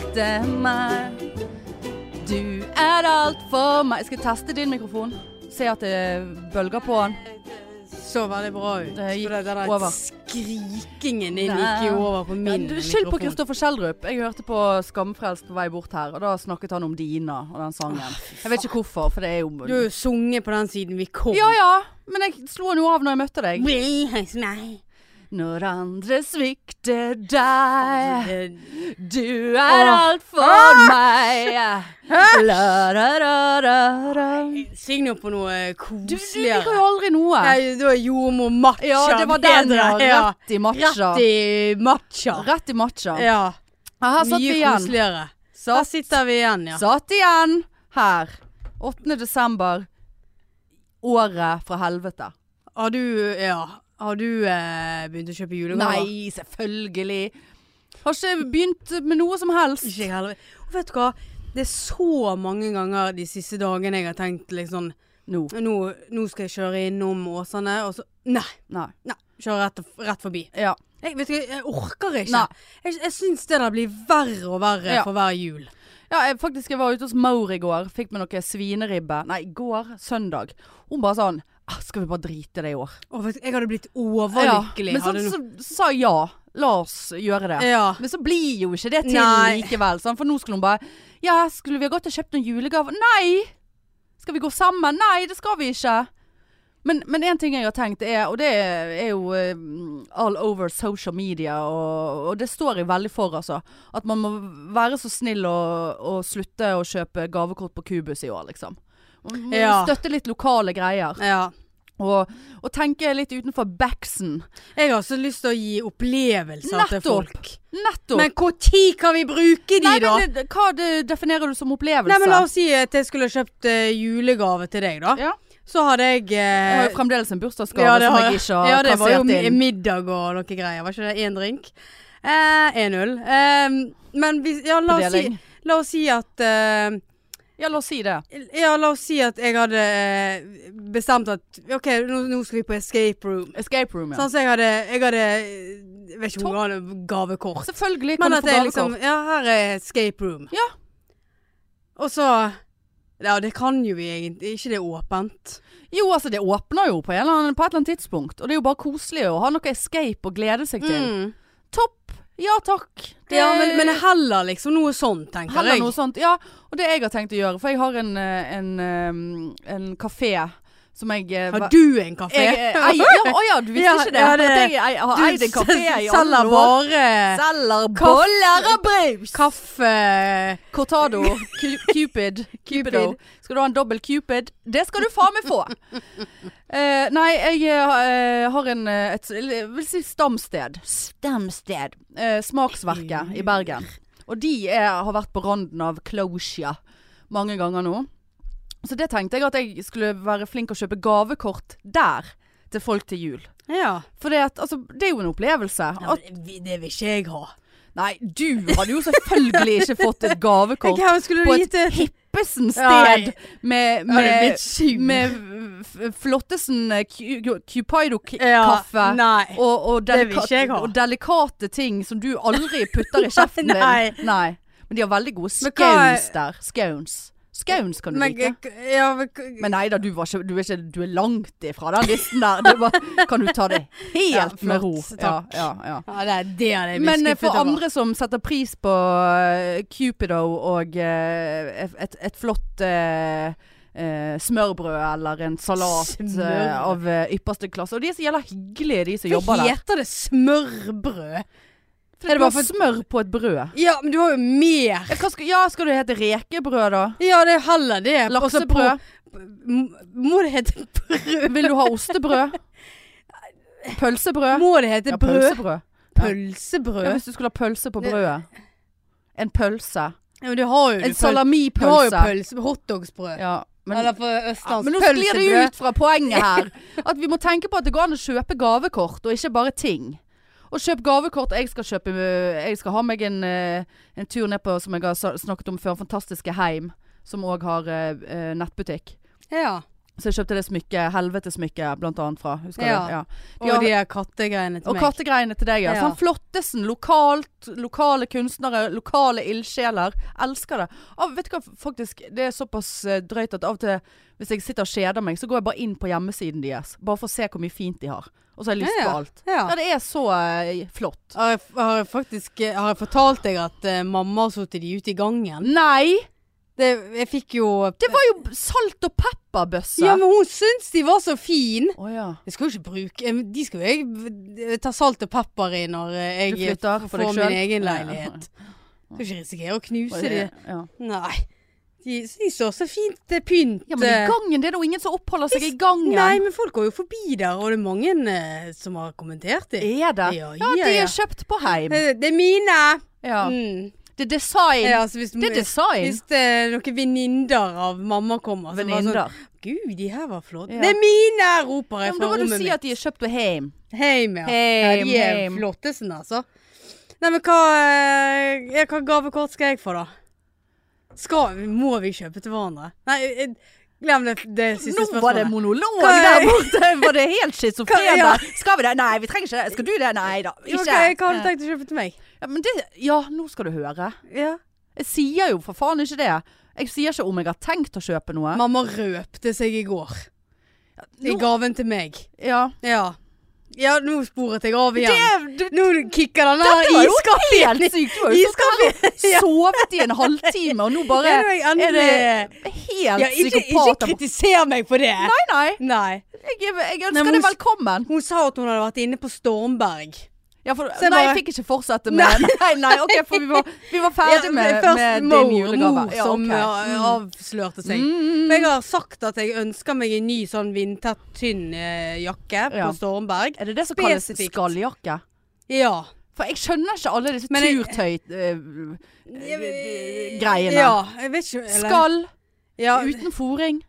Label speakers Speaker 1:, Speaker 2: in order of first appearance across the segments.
Speaker 1: stemme. Du er alt for meg. Jeg skal teste din mikrofon. Se at det bølger på den.
Speaker 2: så veldig bra ut.
Speaker 1: Det gikk
Speaker 2: for det der
Speaker 1: over.
Speaker 2: skrikingen din
Speaker 1: Nei.
Speaker 2: gikk jo over på min
Speaker 1: Du, Skyld på
Speaker 2: mikrofon.
Speaker 1: Kristoffer Schjelderup. Jeg hørte på Skamfrelst på vei bort her, og da snakket han om Dina og den sangen. Jeg vet ikke hvorfor, for det er jo
Speaker 2: Du har jo sunget på den siden vi kom.
Speaker 1: Ja ja, men jeg slo noe av når jeg møtte deg.
Speaker 2: Bli hos meg.
Speaker 1: Når andre svikter deg,
Speaker 2: Eh,
Speaker 1: du er alt for meg. La, ra, ra, ra, ra.
Speaker 2: Syng nå på noe eh,
Speaker 1: Du, du liker
Speaker 2: koseligere.
Speaker 1: jo aldri noe.
Speaker 2: Nei, da er jordmor matcha
Speaker 1: Ja, det var den, ja.
Speaker 2: bedre. Ja.
Speaker 1: Rett i matcha.
Speaker 2: Rett i matcha.
Speaker 1: Rett i matcha. Ja,
Speaker 2: Ja.
Speaker 1: her satt vi
Speaker 2: Mye
Speaker 1: igjen.
Speaker 2: koseligere. Her
Speaker 1: Satt,
Speaker 2: sitter vi igjen, ja.
Speaker 1: satt igjen her. 8. desember. Året fra helvete.
Speaker 2: Har du, ja. Har du eh, begynt å kjøpe julegaver?
Speaker 1: Nei, selvfølgelig. Har ikke begynt med noe som helst.
Speaker 2: Ikke jeg heller. Og vet du hva? Det er så mange ganger de siste dagene jeg har tenkt liksom
Speaker 1: Nå.
Speaker 2: Nå, nå skal jeg kjøre innom Åsane, og så Nei!
Speaker 1: Nei.
Speaker 2: nei kjøre rett, rett forbi.
Speaker 1: Ja.
Speaker 2: Jeg, vet du, hva, jeg orker ikke.
Speaker 1: Nei.
Speaker 2: Jeg, jeg syns det der blir verre og verre
Speaker 1: Ja.
Speaker 2: for hver jul.
Speaker 1: Ja, jeg, faktisk jeg var ute hos Maur i går. Fikk meg noe svineribbe. Nei, i går. Søndag. Hun bare sånn ah, Skal vi bare drite det i år?
Speaker 2: Og vet du, jeg hadde blitt overlykkelig.
Speaker 1: Men sånn så,
Speaker 2: hadde
Speaker 1: så,
Speaker 2: no-
Speaker 1: så sa jeg ja. La oss gjøre det.
Speaker 2: ja.
Speaker 1: Men så blir jo ikke det til
Speaker 2: Nei.
Speaker 1: likevel. sant? For nå skulle hun bare Ja, skulle vi ha gått og kjøpt noen julegaver? Nei! Skal vi gå sammen? Nei, det skal vi ikke. Men, men en ting jeg har tenkt er, og det er jo eh, all over social media, og, og det står jeg veldig for, altså, at man må være så snill og, og slutte å kjøpe gavekort på Kubus i år, liksom. Man må
Speaker 2: Ja.
Speaker 1: Støtte litt lokale greier.
Speaker 2: ja.
Speaker 1: Og, og tenke litt utenfor backsen.
Speaker 2: Jeg har så lyst til å gi opplevelser til
Speaker 1: Nettopp.
Speaker 2: folk.
Speaker 1: Nettopp!
Speaker 2: Men når kan vi bruke de,
Speaker 1: Nei,
Speaker 2: da?
Speaker 1: men det, hva det definerer du som opplevelse?
Speaker 2: Nei, men La oss si at jeg skulle kjøpt eh, julegave til deg, da.
Speaker 1: Ja.
Speaker 2: Så hadde jeg
Speaker 1: Jeg har
Speaker 2: eh,
Speaker 1: jo fremdeles en bursdagsgave
Speaker 2: Ja, det
Speaker 1: som
Speaker 2: har
Speaker 1: jeg
Speaker 2: jeg.
Speaker 1: ikke har
Speaker 2: Ja, det var jo
Speaker 1: kassert
Speaker 2: mi-
Speaker 1: inn.
Speaker 2: middag og noe greier. Var ikke det én drink? Eh, Én øl. Eh, men vi, ja, la, oss si,
Speaker 1: Fordeling.
Speaker 2: la oss si at eh,
Speaker 1: Ja, la oss si det.
Speaker 2: Ja, la oss si at jeg hadde eh, bestemt at OK, nå, nå skal vi på escape room.
Speaker 1: Escape room, ja.
Speaker 2: Sånn, så jeg hadde, jeg hadde eh, Vet ikke hvor jeg hadde gavekort.
Speaker 1: Selvfølgelig kan
Speaker 2: Men
Speaker 1: du
Speaker 2: at
Speaker 1: få
Speaker 2: jeg
Speaker 1: gavekort.
Speaker 2: liksom Ja, her er escape room.
Speaker 1: Ja.
Speaker 2: Og så Ja, det kan jo vi egentlig. Ikke det er åpent.
Speaker 1: Jo, altså det åpner jo på, en eller annen, på et eller annet tidspunkt. Og det er jo bare koselig å ha noe escape å glede seg til.
Speaker 2: Mm.
Speaker 1: Topp! Ja takk. Det
Speaker 2: Ja, men, men heller liksom noe sånn, tenker
Speaker 1: heller
Speaker 2: jeg.
Speaker 1: noe sånt. Ja, og det jeg har tenkt å gjøre, for jeg har en, eh, en, eh, en kafé som jeg eh,
Speaker 2: Har du en kafé?
Speaker 1: Jeg eh, eier ja, Å ja, du visste
Speaker 2: Ja,
Speaker 1: ikke det?
Speaker 2: ja, det-
Speaker 1: At jeg ei- har eid en kafé i alle år.
Speaker 2: selger bare
Speaker 1: Selger
Speaker 2: boller
Speaker 1: og brus.
Speaker 2: kaffe
Speaker 1: Cortado, cu Cupid, Cupido.
Speaker 2: Cupid.
Speaker 1: Skal du ha en dobbel Cupid? Det skal du faen meg få! Eh, nei, jeg eh, har en eh, et, eller, jeg vil si stamsted. Stamsted. Eh, smaksverket i Bergen. Og de er, har vært på randen av closure mange ganger nå. Så det tenkte jeg at jeg skulle være flink å kjøpe gavekort der til folk til jul.
Speaker 2: Ja.
Speaker 1: For det, at, altså, det er jo en opplevelse.
Speaker 2: Ja,
Speaker 1: At,
Speaker 2: men det, det vil ikke jeg ha.
Speaker 1: nei, du hadde jo selvfølgelig ikke fått et gavekort
Speaker 2: Jeg skulle
Speaker 1: på
Speaker 2: du
Speaker 1: et
Speaker 2: gitt et
Speaker 1: hippesen
Speaker 2: Nei.
Speaker 1: sted med,
Speaker 2: Har du
Speaker 1: med,
Speaker 2: blitt sur?
Speaker 1: med f- Flottesen eh, Cu-
Speaker 2: Ja,
Speaker 1: Cupido-kaffe.
Speaker 2: Nei.
Speaker 1: og, og,
Speaker 2: Det vil
Speaker 1: delika-
Speaker 2: ikke jeg ha.
Speaker 1: og delikate ting som du aldri putter i kjeften din.
Speaker 2: Nei.
Speaker 1: Nei. Men de har veldig gode
Speaker 2: Men hva er-
Speaker 1: scones der. Scones. Scones kan du
Speaker 2: Men,
Speaker 1: like.
Speaker 2: ja, men,
Speaker 1: Men nei da, du, var ikke, du, er ikke, du er langt ifra den listen der. Det var, kan du ta det helt
Speaker 2: Ja,
Speaker 1: med
Speaker 2: flott.
Speaker 1: ro?
Speaker 2: Takk.
Speaker 1: Ja, ja, ja.
Speaker 2: ja, det, det hadde jeg blitt
Speaker 1: Men eh,
Speaker 2: skuffet
Speaker 1: for
Speaker 2: over.
Speaker 1: andre som setter pris på eh, Cupido og eh, et, et flott eh, eh, smørbrød eller en salat eh,
Speaker 2: Smørbrød.
Speaker 1: av eh, ypperste klasse. Og de er så jævla hyggelige, de som
Speaker 2: Hva
Speaker 1: jobber der.
Speaker 2: heter det? Smørbrød?
Speaker 1: For
Speaker 2: er det
Speaker 1: det var
Speaker 2: bare for-
Speaker 1: smør på et brød.
Speaker 2: Ja, men du har jo mer.
Speaker 1: Ja, Hva skal, ja, skal det hete rekebrød, da?
Speaker 2: Ja, det er heller det. Og så
Speaker 1: Laksebrød?
Speaker 2: på- Må det hete brød?
Speaker 1: Vil du ha ostebrød? Pølsebrød?
Speaker 2: Må det hete
Speaker 1: Ja,
Speaker 2: brød?
Speaker 1: pølsebrød. Ja,
Speaker 2: Pølsebrød?
Speaker 1: hvis du skulle ha pølse på brødet. En pølse.
Speaker 2: Ja, men du har jo
Speaker 1: En
Speaker 2: du pøl- Du har jo
Speaker 1: salamipølse.
Speaker 2: pølse, hotdogsbrød.
Speaker 1: Ja, men
Speaker 2: Eller på
Speaker 1: Ja,
Speaker 2: østlandsk
Speaker 1: men nå sklir det jo ut fra poenget her. At vi må tenke på at det går an å kjøpe gavekort, og ikke bare ting. Og kjøp gavekort. Jeg skal, kjøpe, øh, jeg skal ha meg en, øh, en tur ned på, som jeg har sa- snakket om før, fantastiske Heim. Som òg har øh, øh, eh, nettbutikk.
Speaker 2: Ja.
Speaker 1: Så jeg kjøpte det smykket, helvetesmykket, blant annet fra. Husker
Speaker 2: Ja.
Speaker 1: du? Ja.
Speaker 2: Og
Speaker 1: har-
Speaker 2: de der kattegreiene til
Speaker 1: Og
Speaker 2: meg.
Speaker 1: kattegreiene til deg, ja.
Speaker 2: Ja.
Speaker 1: Sånn Flottesen. Lokalt. Lokale kunstnere. Lokale ildsjeler. Elsker det. Av, vet du hva, faktisk. Det er såpass eh, drøyt at av og til hvis jeg sitter og kjeder meg, så går jeg bare inn på hjemmesiden deres. Bare for å se hvor mye fint de har. Og så har jeg lyst
Speaker 2: Ja,
Speaker 1: på
Speaker 2: ja.
Speaker 1: alt.
Speaker 2: Ja.
Speaker 1: Ja, det er så eh, flott.
Speaker 2: Har jeg, har jeg faktisk eh, har jeg fortalt deg at eh, mamma har satt de ute i gangen?
Speaker 1: Nei!
Speaker 2: Det, jeg fikk jo
Speaker 1: Det var jo salt og pepperbøsse.
Speaker 2: Ja, men hun syns de var så fine!
Speaker 1: Å ja.
Speaker 2: Jeg skal jo ikke bruke eh, De skal jo jeg eh, ta salt og pepper i når eh, jeg
Speaker 1: Du flytter for
Speaker 2: får
Speaker 1: deg
Speaker 2: min
Speaker 1: selv?
Speaker 2: egen
Speaker 1: Ja, ja.
Speaker 2: leilighet. Skal ikke risikere å knuse de.
Speaker 1: Ja.
Speaker 2: Nei. De, de står så fint eh, pynt.
Speaker 1: ja, men i
Speaker 2: eh,
Speaker 1: gangen. Det er da ingen som oppholder seg i gangen.
Speaker 2: Nei, men folk går jo forbi der, og det er mange eh, som har kommentert det.
Speaker 1: Er det? Ja,
Speaker 2: Ja, ja,
Speaker 1: de
Speaker 2: ja.
Speaker 1: er kjøpt på heim.
Speaker 2: Det, det er mine!
Speaker 1: Ja.
Speaker 2: Mm.
Speaker 1: Det er design.
Speaker 2: Ja, altså hvis,
Speaker 1: Det er design.
Speaker 2: Hvis det er noen venninner av mamma kommer så bare
Speaker 1: Venninner.
Speaker 2: Sånn, Gud, de her var flotte.
Speaker 1: Ja.
Speaker 2: Det er mine! roper
Speaker 1: Ja,
Speaker 2: jeg
Speaker 1: men
Speaker 2: fra
Speaker 1: da må du
Speaker 2: rommet
Speaker 1: si
Speaker 2: mitt.
Speaker 1: at de er kjøpt ved heim.
Speaker 2: Heim, ja. ja.
Speaker 1: Heim,
Speaker 2: De er
Speaker 1: heim.
Speaker 2: flottesen, altså. Nei, men hva, eh, ja, hva gavekort skal jeg få, da? Skal, må vi kjøpe til hverandre? Nei, eh, glem det, det siste
Speaker 1: Nå
Speaker 2: spørsmålet.
Speaker 1: var det monolog
Speaker 2: Hva er-
Speaker 1: der borte! Var det helt schizofren?
Speaker 2: Hva- ja.
Speaker 1: der? Skal vi det? Nei, vi trenger ikke det. Skal du det? Nei da.
Speaker 2: Jo,
Speaker 1: Ikke.
Speaker 2: hva, hva har du tenkt å kjøpe til meg?
Speaker 1: Ja, men det, ja, nå skal du høre.
Speaker 2: Ja.
Speaker 1: Jeg sier jo for faen ikke det. Jeg sier ikke om jeg har tenkt å kjøpe noe.
Speaker 2: Mamma røpte seg i går. I
Speaker 1: Nå-
Speaker 2: gaven til meg.
Speaker 1: Ja.
Speaker 2: Ja. Ja, nå sporet jeg av
Speaker 1: Det,
Speaker 2: igjen.
Speaker 1: du,
Speaker 2: Nå kikker den der
Speaker 1: dette var jo
Speaker 2: iskaffen.
Speaker 1: helt sykt! Du har jo
Speaker 2: Iskaffen.
Speaker 1: så- sovet i en halvtime, og nå bare
Speaker 2: Ja, nå er jeg endelig-
Speaker 1: er det helt
Speaker 2: Ja, ikke, ikke
Speaker 1: psykopat.
Speaker 2: kritiser meg for det.
Speaker 1: Nei, nei.
Speaker 2: Nei.
Speaker 1: Jeg, jeg,
Speaker 2: Nei,
Speaker 1: ønsker
Speaker 2: men
Speaker 1: deg
Speaker 2: hun-
Speaker 1: velkommen.
Speaker 2: Hun sa at hun hadde vært inne på Stormberg.
Speaker 1: Ja, for,
Speaker 2: Så jeg
Speaker 1: nei,
Speaker 2: bare-
Speaker 1: jeg fikk ikke fortsette med Nei, nei, ok, for vi var, vi var ferdig
Speaker 2: Ja,
Speaker 1: med,
Speaker 2: først
Speaker 1: med
Speaker 2: mor-
Speaker 1: din julegave.
Speaker 2: Mor
Speaker 1: Ja,
Speaker 2: som
Speaker 1: ok.
Speaker 2: ja, Mm. avslørte seg. For jeg har sagt at jeg ønsker meg en ny sånn vindtett, tynn eh, jakke
Speaker 1: Ja.
Speaker 2: på Stormberg.
Speaker 1: Er det det som kalles
Speaker 2: Spesifikt.
Speaker 1: skalljakke?
Speaker 2: Ja.
Speaker 1: For jeg skjønner ikke alle disse eh,
Speaker 2: Men jeg-
Speaker 1: turtøy-greiene.
Speaker 2: Ja, jeg vet ikke. eller-
Speaker 1: Skall
Speaker 2: ja,
Speaker 1: uten fòring.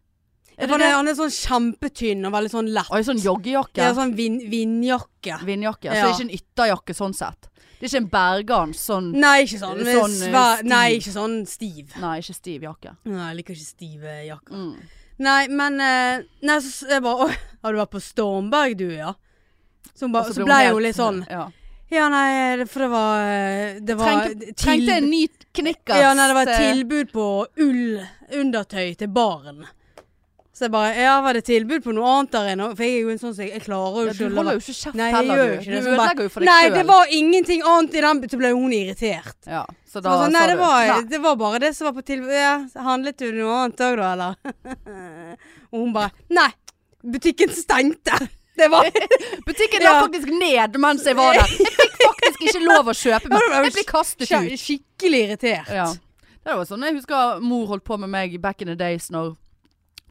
Speaker 1: Er
Speaker 2: for
Speaker 1: det det?
Speaker 2: Han er sånn kjempetynn og veldig sånn lett.
Speaker 1: Og en sånn joggejakke.
Speaker 2: Ja, sånn vin, vindjakke.
Speaker 1: Vindjakke. Så
Speaker 2: Ja.
Speaker 1: det er ikke en ytterjakke sånn sett. Det er ikke en bergans sånn
Speaker 2: Nei, ikke sånn, men
Speaker 1: Sånn, eh,
Speaker 2: svær,
Speaker 1: stiv.
Speaker 2: nei, ikke sånn stiv.
Speaker 1: Nei, ikke stiv jakke.
Speaker 2: Nei, jeg liker ikke stive jakker.
Speaker 1: Mm.
Speaker 2: Nei, men eh, Nei, så s- jeg bare Å, har du vært på Stormberg, du, ja? Så, hun ba,
Speaker 1: Og
Speaker 2: så ble
Speaker 1: helt-
Speaker 2: hun litt sånn
Speaker 1: ja.
Speaker 2: Ja, nei, det- for det var eh, Det var
Speaker 1: Trengte,
Speaker 2: til-
Speaker 1: trengte en ny knickers.
Speaker 2: Ja, nei, det var et
Speaker 1: eh,
Speaker 2: tilbud på ullundertøy til baren. Så jeg bare Ja, var det tilbud på noe annet der enn For jeg er jo en sånn som jeg, jeg klarer jo
Speaker 1: ja, Du
Speaker 2: ikke å la
Speaker 1: holder
Speaker 2: være-
Speaker 1: jo ikke kjeft
Speaker 2: Nei, jeg
Speaker 1: heller,
Speaker 2: gjør jo
Speaker 1: du.
Speaker 2: ikke
Speaker 1: Du
Speaker 2: det. så
Speaker 1: ødelegger
Speaker 2: bare,
Speaker 1: jo for deg
Speaker 2: Nei,
Speaker 1: sjøl.
Speaker 2: det var ingenting annet i den Så ble hun irritert.
Speaker 1: Ja, så
Speaker 2: Så
Speaker 1: da
Speaker 2: bare sånn,
Speaker 1: sa
Speaker 2: nei, det
Speaker 1: du
Speaker 2: var,
Speaker 1: Nei.
Speaker 2: det var bare det som var på tilbud. Ja, handlet du noe annet òg, da, eller? Og hun bare Nei, butikken stengte. Det var
Speaker 1: Butikken
Speaker 2: Ja.
Speaker 1: la faktisk ned mens jeg var der. Jeg fikk faktisk ikke lov å kjøpe,
Speaker 2: Ja, det var
Speaker 1: men
Speaker 2: jo
Speaker 1: jeg ble kastet ut.
Speaker 2: skik- skikkelig irritert.
Speaker 1: Ja. Det var sånn jeg husker mor holdt på med meg back in the days når,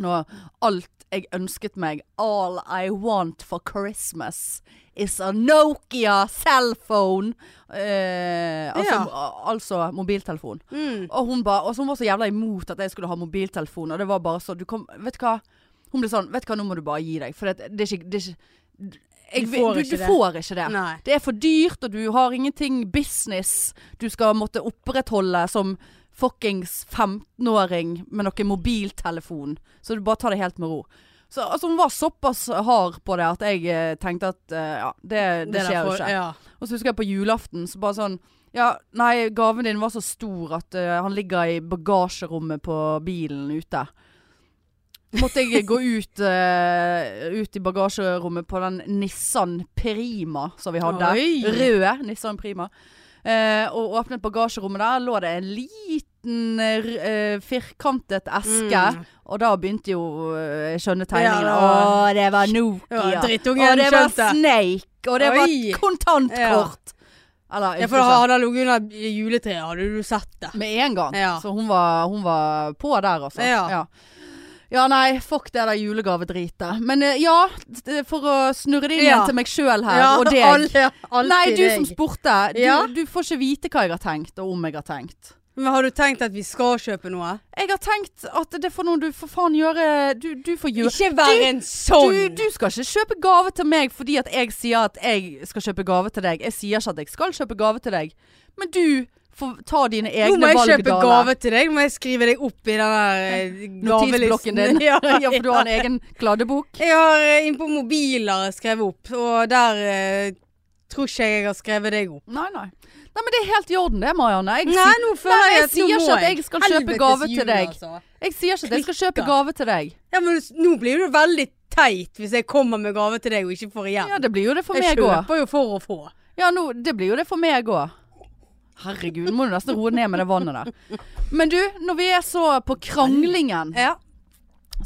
Speaker 1: når alt jeg ønsket meg All I want for Christmas is a Nokia cell phone. Eh, altså,
Speaker 2: Ja.
Speaker 1: al- altså mobiltelefon.
Speaker 2: Mm.
Speaker 1: Og hun, ba, og så hun var så jævla imot at jeg skulle ha mobiltelefon. Og det var bare så du kom, Vet du hva? Hun ble sånn Vet du hva, nå må du bare gi deg. For det, det er ikke, det er ikke jeg,
Speaker 2: Du
Speaker 1: vil-
Speaker 2: får
Speaker 1: du,
Speaker 2: ikke
Speaker 1: du
Speaker 2: det.
Speaker 1: får ikke det.
Speaker 2: Nei.
Speaker 1: Det er for dyrt, og du har ingenting business du skal måtte opprettholde som fuckings 15-åring med noen mobiltelefon. Så du bare tar det helt med ro. Så, altså, hun var såpass hard på det at jeg eh, tenkte at eh, ja, det, det,
Speaker 2: der
Speaker 1: skjer jo
Speaker 2: får-
Speaker 1: ikke.
Speaker 2: Ja.
Speaker 1: Og så husker jeg på julaften, så bare sånn Ja, nei, gaven din var så stor at eh, han ligger i bagasjerommet på bilen ute. Måtte jeg gå ut, eh, ut i bagasjerommet på den Nissan Prima som vi hadde.
Speaker 2: Oi.
Speaker 1: Rød Nissan Prima. Eh, og åpnet bagasjerommet der, lå det en liten eh, r- eh, firkantet eske.
Speaker 2: Mm.
Speaker 1: Og da begynte jo eh, jeg skjønne
Speaker 2: Ja,
Speaker 1: tegningene.
Speaker 2: det var-
Speaker 1: Å, det var
Speaker 2: Ja,
Speaker 1: Nokia.
Speaker 2: Drittungen
Speaker 1: Og det var
Speaker 2: skjønte.
Speaker 1: Snake, og det var
Speaker 2: Oi.
Speaker 1: kontantkort. Eller,
Speaker 2: Ja,
Speaker 1: jeg
Speaker 2: for
Speaker 1: husker ikke.
Speaker 2: hadde han ligget under juletreet, hadde du sett det.
Speaker 1: Med en gang.
Speaker 2: Ja.
Speaker 1: Så hun var, hun var på der, altså.
Speaker 2: Ja.
Speaker 1: Ja. Ja, nei, fuck det der julegavedritet. Men eh, ja, d- for å snurre det inn igjen
Speaker 2: Ja.
Speaker 1: til meg sjøl her,
Speaker 2: Ja,
Speaker 1: og deg.
Speaker 2: alle- alltid
Speaker 1: nei, du som
Speaker 2: deg.
Speaker 1: spurte. Du,
Speaker 2: Ja.
Speaker 1: du får ikke vite hva jeg har tenkt, og om jeg har tenkt.
Speaker 2: Men har du tenkt at vi skal kjøpe noe?
Speaker 1: Jeg har tenkt at det får noe du for faen gjøre Du, du får gjøre
Speaker 2: Ikke vær en sånn!
Speaker 1: Du, du skal ikke kjøpe gave til meg fordi at jeg sier at jeg skal kjøpe gave til deg. Jeg sier ikke at jeg skal kjøpe gave til deg. Men du Få ta dine
Speaker 2: Nå
Speaker 1: egne
Speaker 2: må jeg
Speaker 1: valg,
Speaker 2: kjøpe gave til deg. Nå må jeg skrive deg opp i den der eh,
Speaker 1: Notisblokken
Speaker 2: gavelisten.
Speaker 1: din.
Speaker 2: Ja,
Speaker 1: ja, for du har en egen kladdebok.
Speaker 2: Jeg har eh, inn på mobiler skrevet opp, og der eh, tror ikke jeg jeg har skrevet deg opp.
Speaker 1: Nei, nei. Nei, men det er helt i orden det, Marianne. Jeg,
Speaker 2: Nei, nå føler
Speaker 1: Nei, jeg
Speaker 2: jeg at nå
Speaker 1: sier
Speaker 2: må
Speaker 1: ikke at jeg skal kjøpe
Speaker 2: Helvetes
Speaker 1: gave til
Speaker 2: jul,
Speaker 1: deg.
Speaker 2: altså.
Speaker 1: sier, jeg sier ikke at jeg skal kjøpe
Speaker 2: Klikker.
Speaker 1: gave til deg.
Speaker 2: Ja, men s- nå blir det veldig teit hvis jeg kommer med gave til deg og ikke får igjen.
Speaker 1: Ja, det blir jo det for
Speaker 2: jeg
Speaker 1: meg òg.
Speaker 2: kjøper jo for å få.
Speaker 1: Ja, nå, det blir jo det for meg òg. Herregud, nå må du nesten roe ned med det vannet der. Men du, når vi er så på kranglingen
Speaker 2: Ja.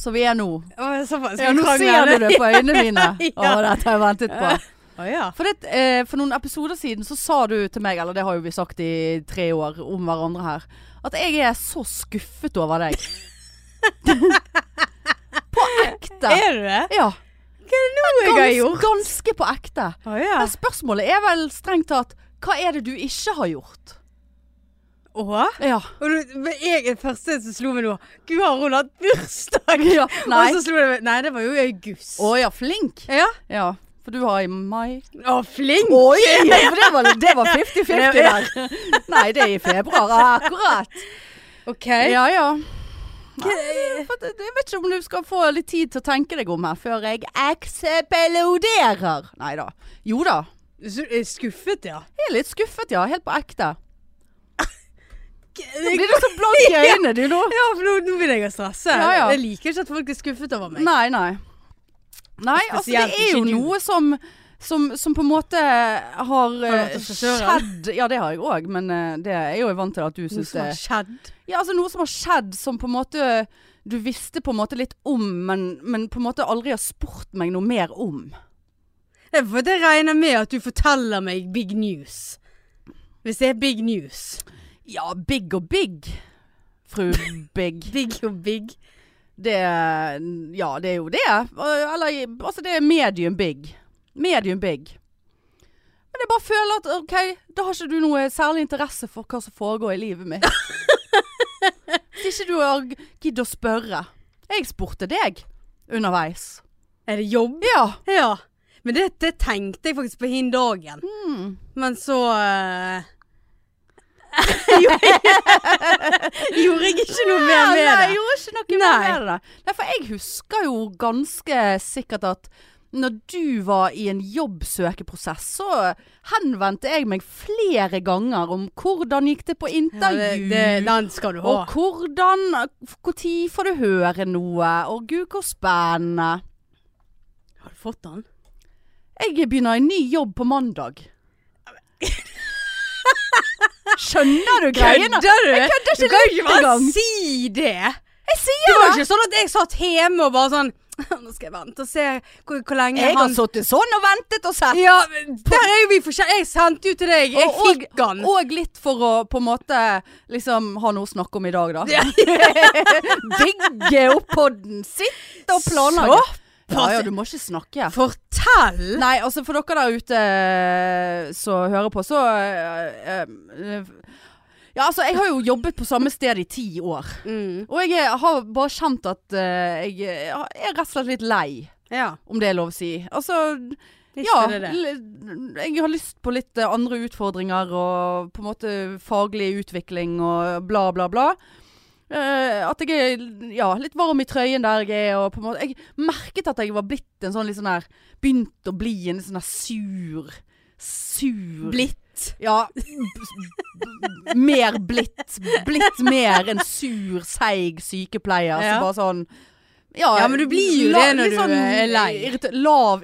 Speaker 1: som vi er nå
Speaker 2: og så bare- skal
Speaker 1: Ja,
Speaker 2: jeg
Speaker 1: nå
Speaker 2: krangle,
Speaker 1: ser du
Speaker 2: eller?
Speaker 1: det på øynene mine. Å,
Speaker 2: Ja.
Speaker 1: dette har jeg ventet på.
Speaker 2: Å, ja.
Speaker 1: For, det, eh, for noen episoder siden så sa du til meg, eller det har jo vi sagt i tre år om hverandre her, at jeg er så skuffet over deg. på ekte.
Speaker 2: Er du det?
Speaker 1: Ja.
Speaker 2: Noe jeg har
Speaker 1: Gans,
Speaker 2: gjort.
Speaker 1: ganske på ekte.
Speaker 2: Å ja.
Speaker 1: Men spørsmålet er vel strengt tatt hva er det du ikke har gjort?
Speaker 2: Å?
Speaker 1: Ja.
Speaker 2: Og du, men jeg er den første som slo meg nå. Gud, har hun hatt bursdag?
Speaker 1: ja. Nei.
Speaker 2: Og så slo det meg Nei, det var jo i august.
Speaker 1: Å ja, flink.
Speaker 2: Ja.
Speaker 1: Ja. For du har i mai
Speaker 2: Å, flink!
Speaker 1: Oi! For det var- det var 50-50
Speaker 2: Det-
Speaker 1: der. Nei, det er i februar. Akkurat.
Speaker 2: OK.
Speaker 1: Ja ja. Nei, det- for det- Jeg vet ikke om du skal få litt tid til å tenke deg om her før jeg eksploderer. Nei da. Jo da.
Speaker 2: Så er jeg skuffet, ja.
Speaker 1: Jeg er litt skuffet, ja. Helt på ekte.
Speaker 2: Jeg,
Speaker 1: Blir du så blank i øynene du nå?
Speaker 2: ja, for nå, nå begynner jeg å stresse.
Speaker 1: Ja, ja.
Speaker 2: Jeg liker ikke at folk er skuffet over meg.
Speaker 1: Nei, nei. Nei, altså det
Speaker 2: spesielt
Speaker 1: er jo
Speaker 2: ikke du.
Speaker 1: noe som, som, som på en måte har eh,
Speaker 2: vært hos frisøren?
Speaker 1: skjedd Ja, det har jeg òg, men eh, det er jeg jo vant til at du
Speaker 2: Noe
Speaker 1: syns
Speaker 2: som
Speaker 1: det
Speaker 2: har skjedd.
Speaker 1: Ja, altså noe som har skjedd som på en måte du visste på en måte litt om, men, men på en måte aldri har spurt meg noe mer om.
Speaker 2: Det er fordi jeg regner med at du forteller meg big news. Hvis det er big news.
Speaker 1: Ja, big og big, fru Big.
Speaker 2: Big og big.
Speaker 1: Det Ja, det er jo det. Eller altså, det er medium big. Medium big. Men jeg bare føler at OK, da har ikke du noe særlig interesse for hva som foregår i livet mitt. Hvis ikke du har giddet å spørre. Jeg spurte deg underveis.
Speaker 2: Er det jobb?
Speaker 1: Ja.
Speaker 2: Ja. Men det, det tenkte jeg faktisk på hin dagen.
Speaker 1: Mm.
Speaker 2: Men så eh, Gjorde jeg ikke noe mer
Speaker 1: nei,
Speaker 2: med det.
Speaker 1: jeg gjorde ikke noe mer
Speaker 2: Nei.
Speaker 1: med det. der. Nei, for jeg husker jo ganske sikkert at når du var i en jobbsøkeprosess, så henvendte jeg meg flere ganger om hvordan gikk det på
Speaker 2: Ja, det,
Speaker 1: intervju.
Speaker 2: det, den skal du ha.
Speaker 1: og hvordan Når får du høre noe? Og gud, hvor spennende.
Speaker 2: Har du fått den?
Speaker 1: Jeg begynner en ny jobb på mandag. Skjønner du greiene?
Speaker 2: Kødder du? Jeg
Speaker 1: kødder ikke
Speaker 2: Du kan
Speaker 1: litt
Speaker 2: ikke bare
Speaker 1: engang.
Speaker 2: si det.
Speaker 1: Jeg
Speaker 2: Det
Speaker 1: sier
Speaker 2: var
Speaker 1: det!
Speaker 2: ikke sånn at jeg satt hjemme og bare sånn Nå skal jeg vente og se hvor, hvor lenge
Speaker 1: Jeg har
Speaker 2: han
Speaker 1: sittet sånn og ventet og sett.
Speaker 2: Ja, men der er jo vi forskjellige. Jeg sendte jo til deg. Jeg
Speaker 1: Og-
Speaker 2: fikk den.
Speaker 1: Og litt for å på en måte liksom ha noe å snakke om i dag, da. Bygge opp podden, sitte og planlegge. Ja, ja, du må ikke snakke.
Speaker 2: Fortell!
Speaker 1: Nei, altså for dere der ute eh, som hører på, så eh, eh, Ja, altså jeg har jo jobbet på samme sted i ti år.
Speaker 2: Mm.
Speaker 1: Og jeg er- har bare kjent at eh, jeg er rett og slett litt lei,
Speaker 2: Ja.
Speaker 1: om det er lov å si. Altså
Speaker 2: Visste
Speaker 1: ja,
Speaker 2: du det?
Speaker 1: l- jeg har lyst på litt eh, andre utfordringer og på en måte faglig utvikling og bla, bla, bla. Eh, at jeg er ja, litt varm i trøyen der jeg er. Og på en måte, jeg merket at jeg var blitt en sånn litt sånn her Begynt å bli en litt sånn her sur Sur
Speaker 2: Blitt.
Speaker 1: Ja. b- b- mer blitt. Blitt mer en sur, seig sykepleier.
Speaker 2: Ja.
Speaker 1: Så bare sånn ja,
Speaker 2: Ja, men du blir jo
Speaker 1: la-
Speaker 2: det når
Speaker 1: litt
Speaker 2: du er lei.
Speaker 1: irrita- lav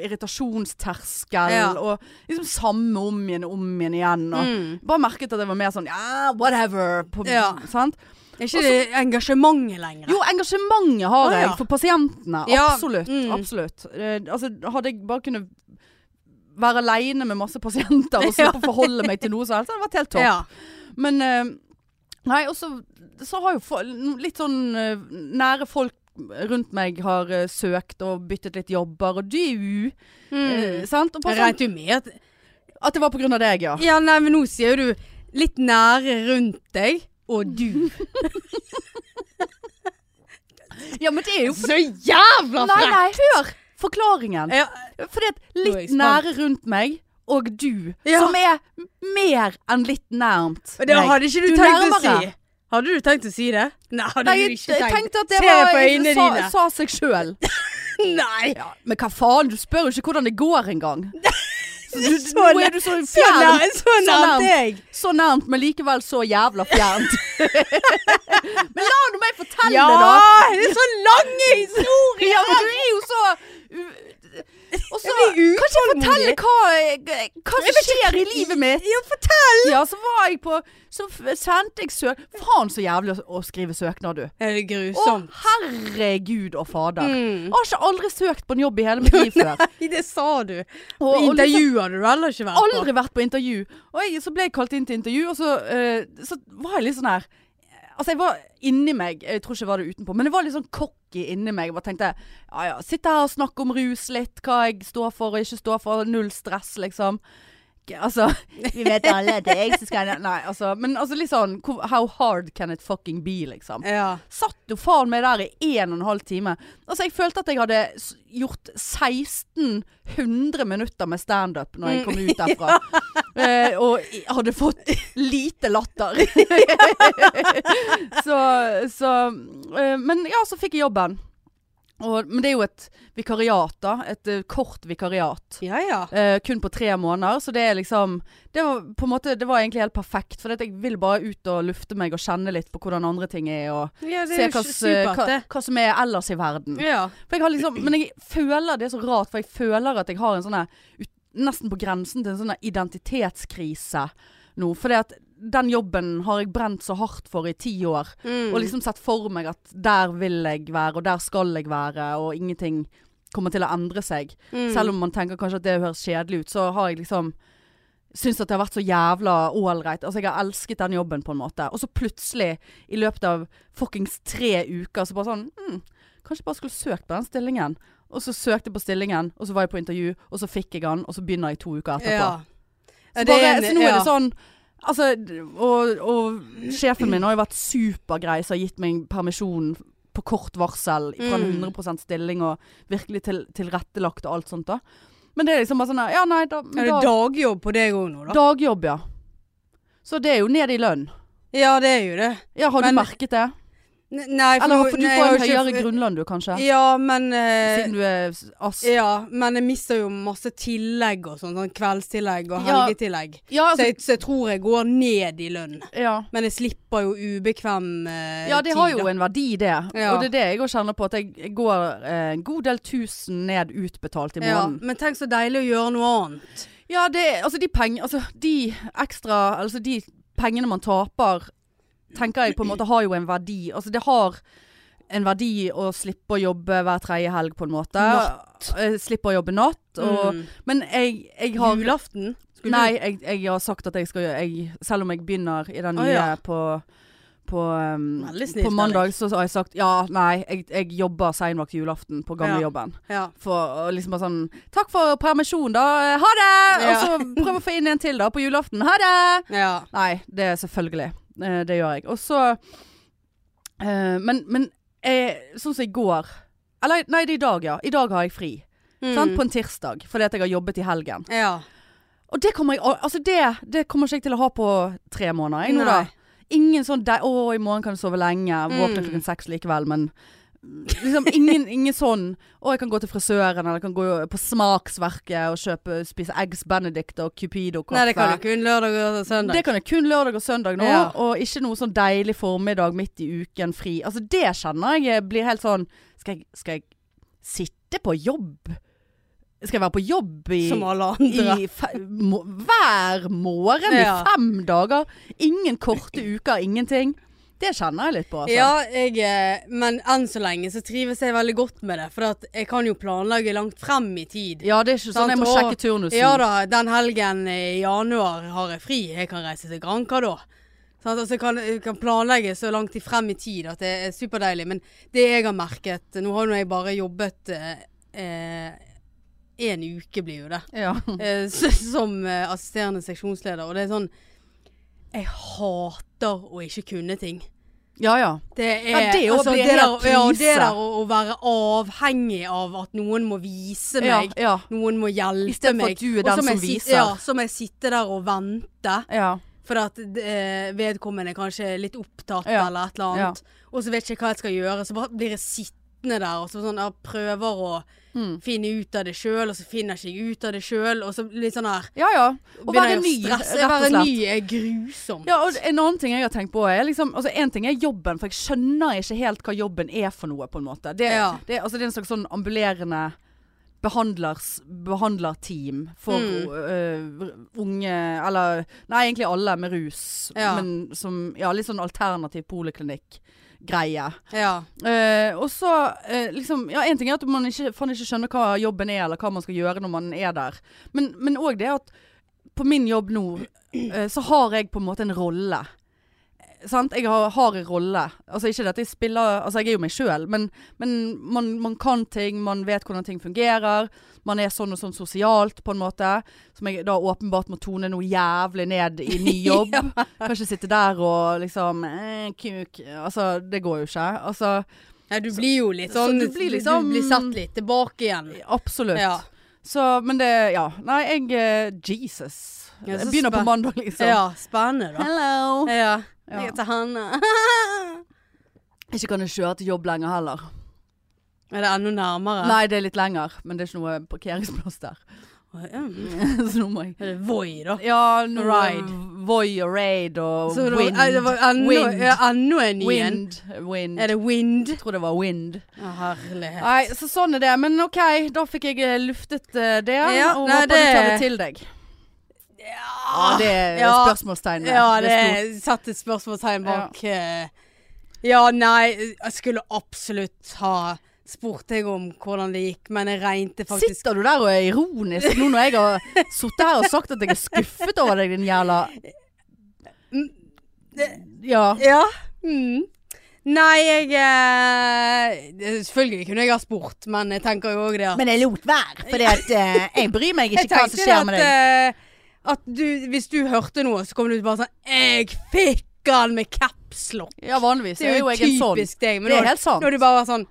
Speaker 1: irritasjonsterskel
Speaker 2: Ja. Mm.
Speaker 1: og liksom samme om igjen og om igjen igjen. Og Bare merket at jeg var mer sånn ja, whatever. På,
Speaker 2: Ja.
Speaker 1: Sant?
Speaker 2: Er ikke det engasjementet lenger?
Speaker 1: Jo, engasjementet har
Speaker 2: Å, ja.
Speaker 1: jeg for pasientene.
Speaker 2: Ja,
Speaker 1: Absolutt.
Speaker 2: mm.
Speaker 1: absolutt. Eh, altså, hadde jeg bare kunnet være aleine med masse pasienter og
Speaker 2: Ja.
Speaker 1: slippe å forholde meg til noe som helst, hadde det vært helt topp.
Speaker 2: Ja.
Speaker 1: Men eh, Nei, og så- så har jo fo- litt sånn eh, nære folk rundt meg har eh, søkt og byttet litt jobber, og du eh,
Speaker 2: Mm.
Speaker 1: Sant? Og bare
Speaker 2: Jeg
Speaker 1: sånn,
Speaker 2: regnet jo med at
Speaker 1: at det var på grunn av deg, ja.
Speaker 2: Ja, nei, men nå sier du litt nære rundt deg, og du.
Speaker 1: Ja, men det er jo
Speaker 2: Så jævla
Speaker 1: Nei, nei, hør forklaringen.
Speaker 2: Ja,
Speaker 1: Fordi at
Speaker 2: Nå er jeg
Speaker 1: litt
Speaker 2: spent.
Speaker 1: nære rundt meg og du,
Speaker 2: Ja.
Speaker 1: som er mer enn litt nærmt.
Speaker 2: Og det
Speaker 1: meg.
Speaker 2: hadde ikke du,
Speaker 1: Du
Speaker 2: tenkt å
Speaker 1: nærmere.
Speaker 2: si. Hadde du tenkt å si det? Nei, hadde
Speaker 1: Nei,
Speaker 2: du
Speaker 1: jeg
Speaker 2: ikke
Speaker 1: jeg
Speaker 2: tenkt
Speaker 1: tenkte at det
Speaker 2: Se
Speaker 1: var
Speaker 2: på øynene
Speaker 1: sa,
Speaker 2: dine.
Speaker 1: sa seg sjøl.
Speaker 2: Nei!
Speaker 1: Ja, men hva faen, du spør jo ikke hvordan det går engang. Så du-
Speaker 2: Så
Speaker 1: Nå er
Speaker 2: nær-
Speaker 1: du så
Speaker 2: Så
Speaker 1: fjern.
Speaker 2: nær- så nærmt deg.
Speaker 1: Så nærmt, men likevel så jævla fjernt. men la nå meg fortelle
Speaker 2: Ja!
Speaker 1: det, da.
Speaker 2: Det er så lange historier!
Speaker 1: Ja, men du er jo så Og så
Speaker 2: Jeg blir
Speaker 1: Kan ikke jeg
Speaker 2: utålmodig.
Speaker 1: fortelle hva, hva
Speaker 2: Jeg
Speaker 1: som
Speaker 2: vet ikke-
Speaker 1: skjer i livet mitt?
Speaker 2: Ja, fortell!
Speaker 1: Ja, så var jeg på Så f- sendte jeg søk... Faen så jævlig å- å skrive søknad, du.
Speaker 2: Er det
Speaker 1: Å,
Speaker 2: grusomt?
Speaker 1: herregud og fader.
Speaker 2: Sånn. Mm.
Speaker 1: Jeg har ikke aldri søkt på en jobb i hele mitt liv før.
Speaker 2: Nei, det sa du.
Speaker 1: Og, og liksom
Speaker 2: Intervjuer du heller ikke vært på?
Speaker 1: aldri vært på intervju. Og jeg, så ble jeg kalt inn til intervju, og så, eh, så var jeg litt sånn her Altså, jeg var inni meg, jeg tror ikke jeg var det utenpå, men jeg var litt sånn cocky inni meg. Jeg bare tenkte ja ja, sitte her og snakke om rus litt, hva jeg står for og ikke står for, null stress, liksom. Ikke, Altså Vi vet alle at det er jeg som skal Nei, altså. Men altså litt sånn hvor- How hard can it fucking be, liksom?
Speaker 2: Ja.
Speaker 1: Satt jo faen meg der i en og en halv time. Altså, jeg følte at jeg hadde s- gjort 1600 minutter med standup når jeg kom ut derfra. eh, og i- hadde fått lite latter. så så eh, Men ja, så fikk jeg jobben. Og, men det er jo et vikariat, da. Et eh, kort vikariat.
Speaker 2: Ja, ja.
Speaker 1: Eh, kun på tre måneder, så det er liksom Det var på en måte Det var egentlig helt perfekt, for det at jeg vil bare ut og lufte meg og kjenne litt på hvordan andre ting er, og
Speaker 2: ja det
Speaker 1: Se
Speaker 2: er
Speaker 1: hva,
Speaker 2: jo
Speaker 1: s- eh,
Speaker 2: supert,
Speaker 1: hva,
Speaker 2: det.
Speaker 1: hva som er ellers i verden.
Speaker 2: Ja.
Speaker 1: For jeg har liksom, men jeg føler det er så rart, for jeg føler at jeg har en sånn her ut- Nesten på grensen til en sånn her identitetskrise nå. For at den jobben har jeg brent så hardt for i ti år.
Speaker 2: Mm.
Speaker 1: Og liksom sett for meg at der vil jeg være, og der skal jeg være, og ingenting kommer til å endre seg.
Speaker 2: Mm.
Speaker 1: Selv om man tenker kanskje at det høres kjedelig ut, så har jeg liksom Syns at det har vært så jævla ålreit. Altså, jeg har elsket den jobben, på en måte. Og så plutselig, i løpet av fuckings tre uker, så bare sånn hm, Kanskje jeg bare skulle søkt på den stillingen. Og så søkte jeg på stillingen, og så var jeg på intervju, og så fikk jeg den, og så begynner jeg to uker etterpå.
Speaker 2: Ja. Ja,
Speaker 1: Så,
Speaker 2: det er
Speaker 1: bare,
Speaker 2: en-
Speaker 1: så nå er
Speaker 2: ja.
Speaker 1: det sånn Altså, d- og, og sjefen min har jo vært supergrei som har gitt meg permisjon på kort varsel fra en
Speaker 2: Mm.
Speaker 1: 100 stilling og virkelig til, tilrettelagt og alt sånt da. Men det er liksom bare sånn her, Ja, nei, da, men
Speaker 2: Er det
Speaker 1: da
Speaker 2: dagjobb på deg òg nå, da?
Speaker 1: Dagjobb, ja. Så det er jo ned i lønn.
Speaker 2: Ja, det er jo det.
Speaker 1: Ja, har
Speaker 2: Men-
Speaker 1: du merket det?
Speaker 2: N- Nei, for,
Speaker 1: Eller
Speaker 2: nå-
Speaker 1: for du
Speaker 2: nei,
Speaker 1: får en
Speaker 2: jeg har
Speaker 1: høyere
Speaker 2: ikke-
Speaker 1: grunnlønn du, kanskje?
Speaker 2: Ja, men eh,
Speaker 1: Siden du er s- ass.
Speaker 2: Ja, men jeg mister jo masse tillegg og sånn. sånn kveldstillegg og
Speaker 1: Ja,
Speaker 2: helgetillegg.
Speaker 1: Ja,
Speaker 2: så,
Speaker 1: altså,
Speaker 2: jeg, så jeg tror jeg går ned i lønn.
Speaker 1: ja.
Speaker 2: Men jeg slipper jo ubekvem eh,
Speaker 1: Ja, det har
Speaker 2: tid,
Speaker 1: jo
Speaker 2: da.
Speaker 1: en verdi det.
Speaker 2: Ja.
Speaker 1: Og det er det jeg òg kjenner på. At jeg går eh, en god del tusen ned utbetalt i
Speaker 2: ja,
Speaker 1: måneden.
Speaker 2: Men tenk så deilig å gjøre noe annet.
Speaker 1: Ja, det, altså de peng, altså de ekstra, altså de pengene man taper, tenker jeg på en måte har jo en verdi. Altså det har en verdi å slippe å jobbe hver tredje helg på en måte.
Speaker 2: Natt.
Speaker 1: Eh, Slippe å jobbe natt. Og,
Speaker 2: Mm.
Speaker 1: Men jeg, jeg har...
Speaker 2: Julaften? Skulle
Speaker 1: Nei, jeg, jeg har sagt at jeg skal gjøre, jeg, selv om jeg begynner i den
Speaker 2: Å,
Speaker 1: nye
Speaker 2: ja.
Speaker 1: på, på, um,
Speaker 2: Veldig snilt,
Speaker 1: på mandag, så har jeg sagt, ja, nei, jeg, jeg jobber seinvakt julaften på gamle
Speaker 2: Ja.
Speaker 1: jobben.
Speaker 2: du Ja.
Speaker 1: For å liksom bare sånn Takk for permisjon, da. Ha det!
Speaker 2: Ja.
Speaker 1: Og så prøv å få inn en til, da, på julaften. Ha det!
Speaker 2: ja.
Speaker 1: Nei, det er selvfølgelig. Eh, Det gjør jeg. Og så eh, Men, men eh, sånn som i går Eller nei, det er i dag, ja. I dag har jeg fri.
Speaker 2: Mm.
Speaker 1: Sant? På en tirsdag. Fordi at jeg har jobbet i helgen.
Speaker 2: Ja.
Speaker 1: Og det kommer jeg al- Altså, det, det kommer ikke jeg til å ha på tre måneder, jeg nå,
Speaker 2: Nei.
Speaker 1: da. Ingen sånn de, 'Å, i morgen kan jeg sove lenge. Våkne
Speaker 2: Mm.
Speaker 1: klokken seks likevel', men liksom ingen, ingen sånn 'Å, jeg kan gå til frisøren', eller jeg kan gå på Smaksverket og kjøpe, spise Eggs Benedict og Cupido-kaffe.
Speaker 2: Nei, det kan du kun lørdag og søndag.
Speaker 1: Det kan jeg kun lørdag og søndag nå,
Speaker 2: Ja.
Speaker 1: og ikke noe sånn deilig formiddag midt i uken fri. Altså det kjenner jeg blir helt sånn Skal jeg, skal jeg sitte på jobb? Skal jeg være på jobb i,
Speaker 2: Som alle andre.
Speaker 1: i fe, må, hver morgen
Speaker 2: Ja.
Speaker 1: i fem dager? Ingen korte uker, ingenting. Det kjenner jeg litt på, altså.
Speaker 2: Ja, jeg, eh, men enn så lenge så trives jeg veldig godt med det. For at jeg kan jo planlegge langt frem i tid.
Speaker 1: Ja, det er ikke sånn jeg må
Speaker 2: Sant, og-
Speaker 1: sjekke turnusen.
Speaker 2: Ja da, den helgen i januar har jeg fri. Jeg kan reise til Granca da. Sånn, altså, jeg, kan, jeg kan planlegge så langt i frem i tid at det er superdeilig. Men det jeg har merket Nå har jo jeg bare jobbet én eh, en uke, blir jo det.
Speaker 1: Ja.
Speaker 2: Eh, s- som eh, assisterende seksjonsleder. Og det er sånn Jeg hater å ikke kunne ting.
Speaker 1: Ja ja.
Speaker 2: Det er,
Speaker 1: Ja, det er å
Speaker 2: altså,
Speaker 1: bli
Speaker 2: det der,
Speaker 1: helt
Speaker 2: ja,
Speaker 1: krise.
Speaker 2: det der å, å være avhengig av at noen må vise
Speaker 1: Ja,
Speaker 2: meg,
Speaker 1: ja,
Speaker 2: noen må
Speaker 1: I
Speaker 2: hjelpe
Speaker 1: stedet for
Speaker 2: meg.
Speaker 1: at du er
Speaker 2: Og så
Speaker 1: den
Speaker 2: må jeg
Speaker 1: som
Speaker 2: sit-
Speaker 1: viser.
Speaker 2: Ja, så må jeg sitte der og vente.
Speaker 1: ja.
Speaker 2: For at eh, vedkommende kanskje er litt opptatt
Speaker 1: Ja.
Speaker 2: eller et eller annet. Og så vet jeg ikke hva jeg skal gjøre. Så bare blir jeg sittende der og så sånn, jeg prøver å
Speaker 1: Mm.
Speaker 2: finne ut av det sjøl, og så finner jeg ikke ut av det sjøl. Og så litt sånn her
Speaker 1: Ja ja. Å
Speaker 2: begynner
Speaker 1: være
Speaker 2: jeg
Speaker 1: ny,
Speaker 2: stresse.
Speaker 1: rett og
Speaker 2: Være
Speaker 1: slett.
Speaker 2: ny er grusomt.
Speaker 1: Ja, og en annen ting jeg har tenkt på er liksom Altså, en ting er jobben, for jeg skjønner ikke helt hva jobben er for noe, på en måte. Det,
Speaker 2: Ja.
Speaker 1: det, altså, det er en slags sånn ambulerende behandlers, behandlerteam for
Speaker 2: Mm.
Speaker 1: øh, unge Eller Nei, egentlig alle med rus,
Speaker 2: Ja.
Speaker 1: men som Ja, litt sånn alternativ poliklinikk-greie.
Speaker 2: Ja.
Speaker 1: Eh, og så eh, liksom Ja, en ting er at man ikke, faen ikke skjønner hva jobben er, eller hva man skal gjøre når man er der. Men- Men òg det at på min jobb nå, eh, så har jeg på en måte en rolle. Eh, Sant? Jeg har, har en rolle. Altså ikke det at jeg spiller Altså jeg er jo meg sjøl, men, men man, man kan ting, man vet hvordan ting fungerer. Man er sånn og sånn sosialt, på en måte. Som jeg da åpenbart må tone noe jævlig ned i ny jobb. Kan ikke sitte der og liksom eh, Kuk. Altså, det går jo ikke. Altså
Speaker 2: Nei, du blir jo litt
Speaker 1: Så
Speaker 2: sånn
Speaker 1: du blir liksom-
Speaker 2: du blir satt litt tilbake igjen.
Speaker 1: Absolutt.
Speaker 2: Ja.
Speaker 1: Så, men det Ja. Nei, jeg eh, Jesus.
Speaker 2: Ja, så
Speaker 1: jeg begynner på
Speaker 2: spen-
Speaker 1: mandag, liksom.
Speaker 2: Ja, spennende,
Speaker 1: Hello.
Speaker 2: da. Ja.
Speaker 1: Ja.
Speaker 2: Jeg heter Hanne.
Speaker 1: Ikke kan jeg kjøre til jobb lenger heller.
Speaker 2: Er det enda nærmere?
Speaker 1: Nei, det er litt lenger, men det er ikke noe parkeringsplass der.
Speaker 2: Er
Speaker 1: så nå må jeg
Speaker 2: det Voi, da?
Speaker 1: Ja, nå
Speaker 2: Ride.
Speaker 1: Voi og raid og
Speaker 2: Så det var,
Speaker 1: wind.
Speaker 2: eh, det var enda,
Speaker 1: wind.
Speaker 2: ja, enda en ny en.
Speaker 1: wind. Wind.
Speaker 2: Er det wind?
Speaker 1: Jeg tror det var wind.
Speaker 2: Ja, herlighet.
Speaker 1: Nei, så sånn er det. Men OK, da fikk jeg eh, luftet eh, det.
Speaker 2: Ja,
Speaker 1: og
Speaker 2: nei,
Speaker 1: håper du tar det
Speaker 2: det-
Speaker 1: til deg. Ja,
Speaker 2: Ja,
Speaker 1: det er
Speaker 2: ja.
Speaker 1: spørsmålstegn. der.
Speaker 2: ah, Ja,
Speaker 1: Det er stort.
Speaker 2: det satte et spørsmålstegn bak. eh, Ja, nei, jeg skulle absolutt ha spurt deg om hvordan det gikk, men jeg regnet faktisk
Speaker 1: Sitter du der og er ironisk nå når jeg har sittet her og sagt at jeg er skuffet over deg, din jævla
Speaker 2: Mm.
Speaker 1: Ja.
Speaker 2: Ja. Mm. Nei, jeg eh, det- Selvfølgelig kunne jeg ha spurt, men jeg tenker jo òg det at
Speaker 1: Men jeg lot være, for jeg bryr meg
Speaker 2: Jeg tenkte det at, eh, at du, hvis du hørte noe, så kom du bare sånn 'Jeg fikk han med capslock'.
Speaker 1: Ja, vanligvis
Speaker 2: eh, Det er jo
Speaker 1: jeg en sånn.
Speaker 2: typisk deg. Men
Speaker 1: Det
Speaker 2: nå,
Speaker 1: er helt sant.
Speaker 2: nå er du bare sånn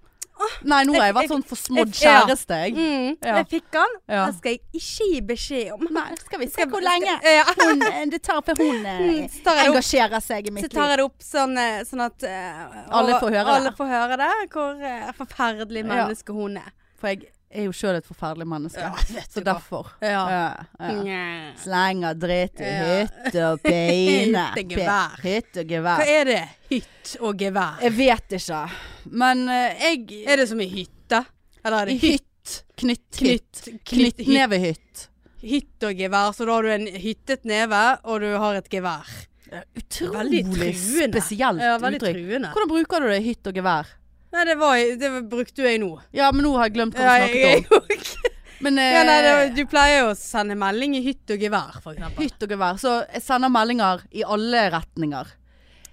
Speaker 1: Nei, nå har jeg vært sånn forsmådd kjæreste, jeg.
Speaker 2: mm,
Speaker 1: Ja.
Speaker 2: 'Jeg fikk han,
Speaker 1: Ja.
Speaker 2: den skal jeg ikke gi beskjed om'.
Speaker 1: Nei, skal vi
Speaker 2: Skal-
Speaker 1: eh,
Speaker 2: Ja.
Speaker 1: hun, eh, det tar for hun eh,
Speaker 2: Mm, så tar jeg opp-
Speaker 1: engasjerer seg i
Speaker 2: Så tar jeg det opp sånn, eh, sånn at eh,
Speaker 1: Alle
Speaker 2: og-
Speaker 1: får høre det.
Speaker 2: alle får høre det. Hvor eh, forferdelig menneske hun er.
Speaker 1: For jeg er jo sjøl et forferdelig menneske. så derfor.
Speaker 2: Ja. Mm.
Speaker 1: Ja, ja.
Speaker 2: Nja.
Speaker 1: Slenger dritt i
Speaker 2: Ja.
Speaker 1: hytt og pine.
Speaker 2: Hytt og
Speaker 1: Pe- Hytt og
Speaker 2: gevær.
Speaker 1: gevær.
Speaker 2: Hva er det? Hytt og gevær?
Speaker 1: Jeg vet ikke. Men eh, jeg
Speaker 2: Er det som i hytte? Eller er det hytt?
Speaker 1: hytt. Knytt,
Speaker 2: Knytt, knytt,
Speaker 1: Knytt nevehytt.
Speaker 2: hytt og gevær, så da har du en hyttet neve, og du har et gevær.
Speaker 1: Utrolig
Speaker 2: truende.
Speaker 1: spesielt
Speaker 2: Ja, veldig
Speaker 1: uttrykk.
Speaker 2: truende.
Speaker 1: Hvordan bruker du det? Hytt og gevær?
Speaker 2: Nei, det, var, det brukte jo jeg nå.
Speaker 1: Ja, men nå har jeg glemt hva vi snakket om. Men eh,
Speaker 2: ja, nei, det, du pleier jo å sende melding i hytt og gevær, for eksempel.
Speaker 1: eh, hytt og gevær. Så jeg sender meldinger i alle retninger.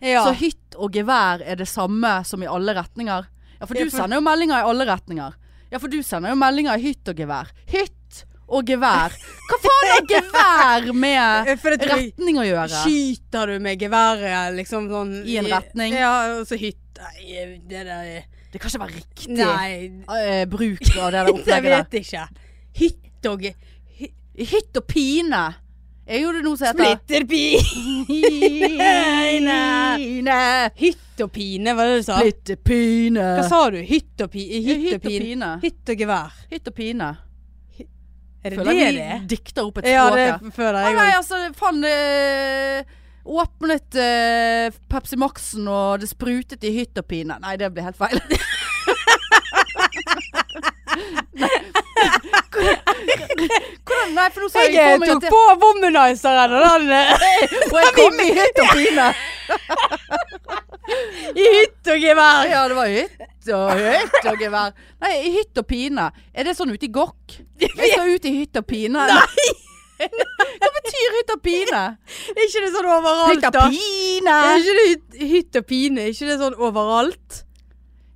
Speaker 2: Ja.
Speaker 1: Så hytt og gevær er det samme som i alle retninger? Ja, for
Speaker 2: Ja,
Speaker 1: du
Speaker 2: for-
Speaker 1: sender jo meldinger i alle retninger. Ja, for du sender jo meldinger i hytt og gevær. Hytt og gevær. Hva faen har gevær med
Speaker 2: Eh, for det tror jeg-
Speaker 1: retning å gjøre?
Speaker 2: Skyter du med geværet liksom sånn
Speaker 1: I en retning?
Speaker 2: Ja, og så hytt Nei, Det der
Speaker 1: Det kan ikke være riktig
Speaker 2: Nei,
Speaker 1: eh, bruk av det der
Speaker 2: jeg
Speaker 1: opplegget der.
Speaker 2: vet ikke. Hytt og ge- hy-
Speaker 1: Hytt og pine er jo det noe som heter
Speaker 2: Splitterpi!
Speaker 1: Pine.
Speaker 2: Hytt og pine, var det du sa?
Speaker 1: Splitte pine.
Speaker 2: Hva sa du? Hytt og, pi, hytt og pine?
Speaker 1: pine.
Speaker 2: Hytt og gevær.
Speaker 1: Hytt og pine.
Speaker 2: Er det
Speaker 1: Føler
Speaker 2: det
Speaker 1: jeg
Speaker 2: det er?
Speaker 1: vi dikter opp et
Speaker 2: Ja,
Speaker 1: språk
Speaker 2: det
Speaker 1: her.
Speaker 2: føler
Speaker 1: Å
Speaker 2: jeg
Speaker 1: nei,
Speaker 2: òg.
Speaker 1: altså, faen eh, Åpnet eh, Pepsi Max-en, og det sprutet i hytt og pine. Nei, det ble helt feil. Nei. Hvordan Nei, for nå sa jeg
Speaker 2: Jeg eh,
Speaker 1: for meg at
Speaker 2: tok
Speaker 1: det-
Speaker 2: på womanizeren og den eh,
Speaker 1: Og jeg kom i hytt og pine.
Speaker 2: i hytt og gevær.
Speaker 1: Ja, det var hytt og hytt og gevær. Nei, i hytt og pine. Er det sånn ute i gokk? Jeg skal ut i hytt og pine. Nei! Hva betyr hytt og pine?
Speaker 2: Er ikke det sånn overalt,
Speaker 1: Hytt og
Speaker 2: da?
Speaker 1: pine!
Speaker 2: Er ikke det hytt, hytt og pine? Er ikke det sånn overalt?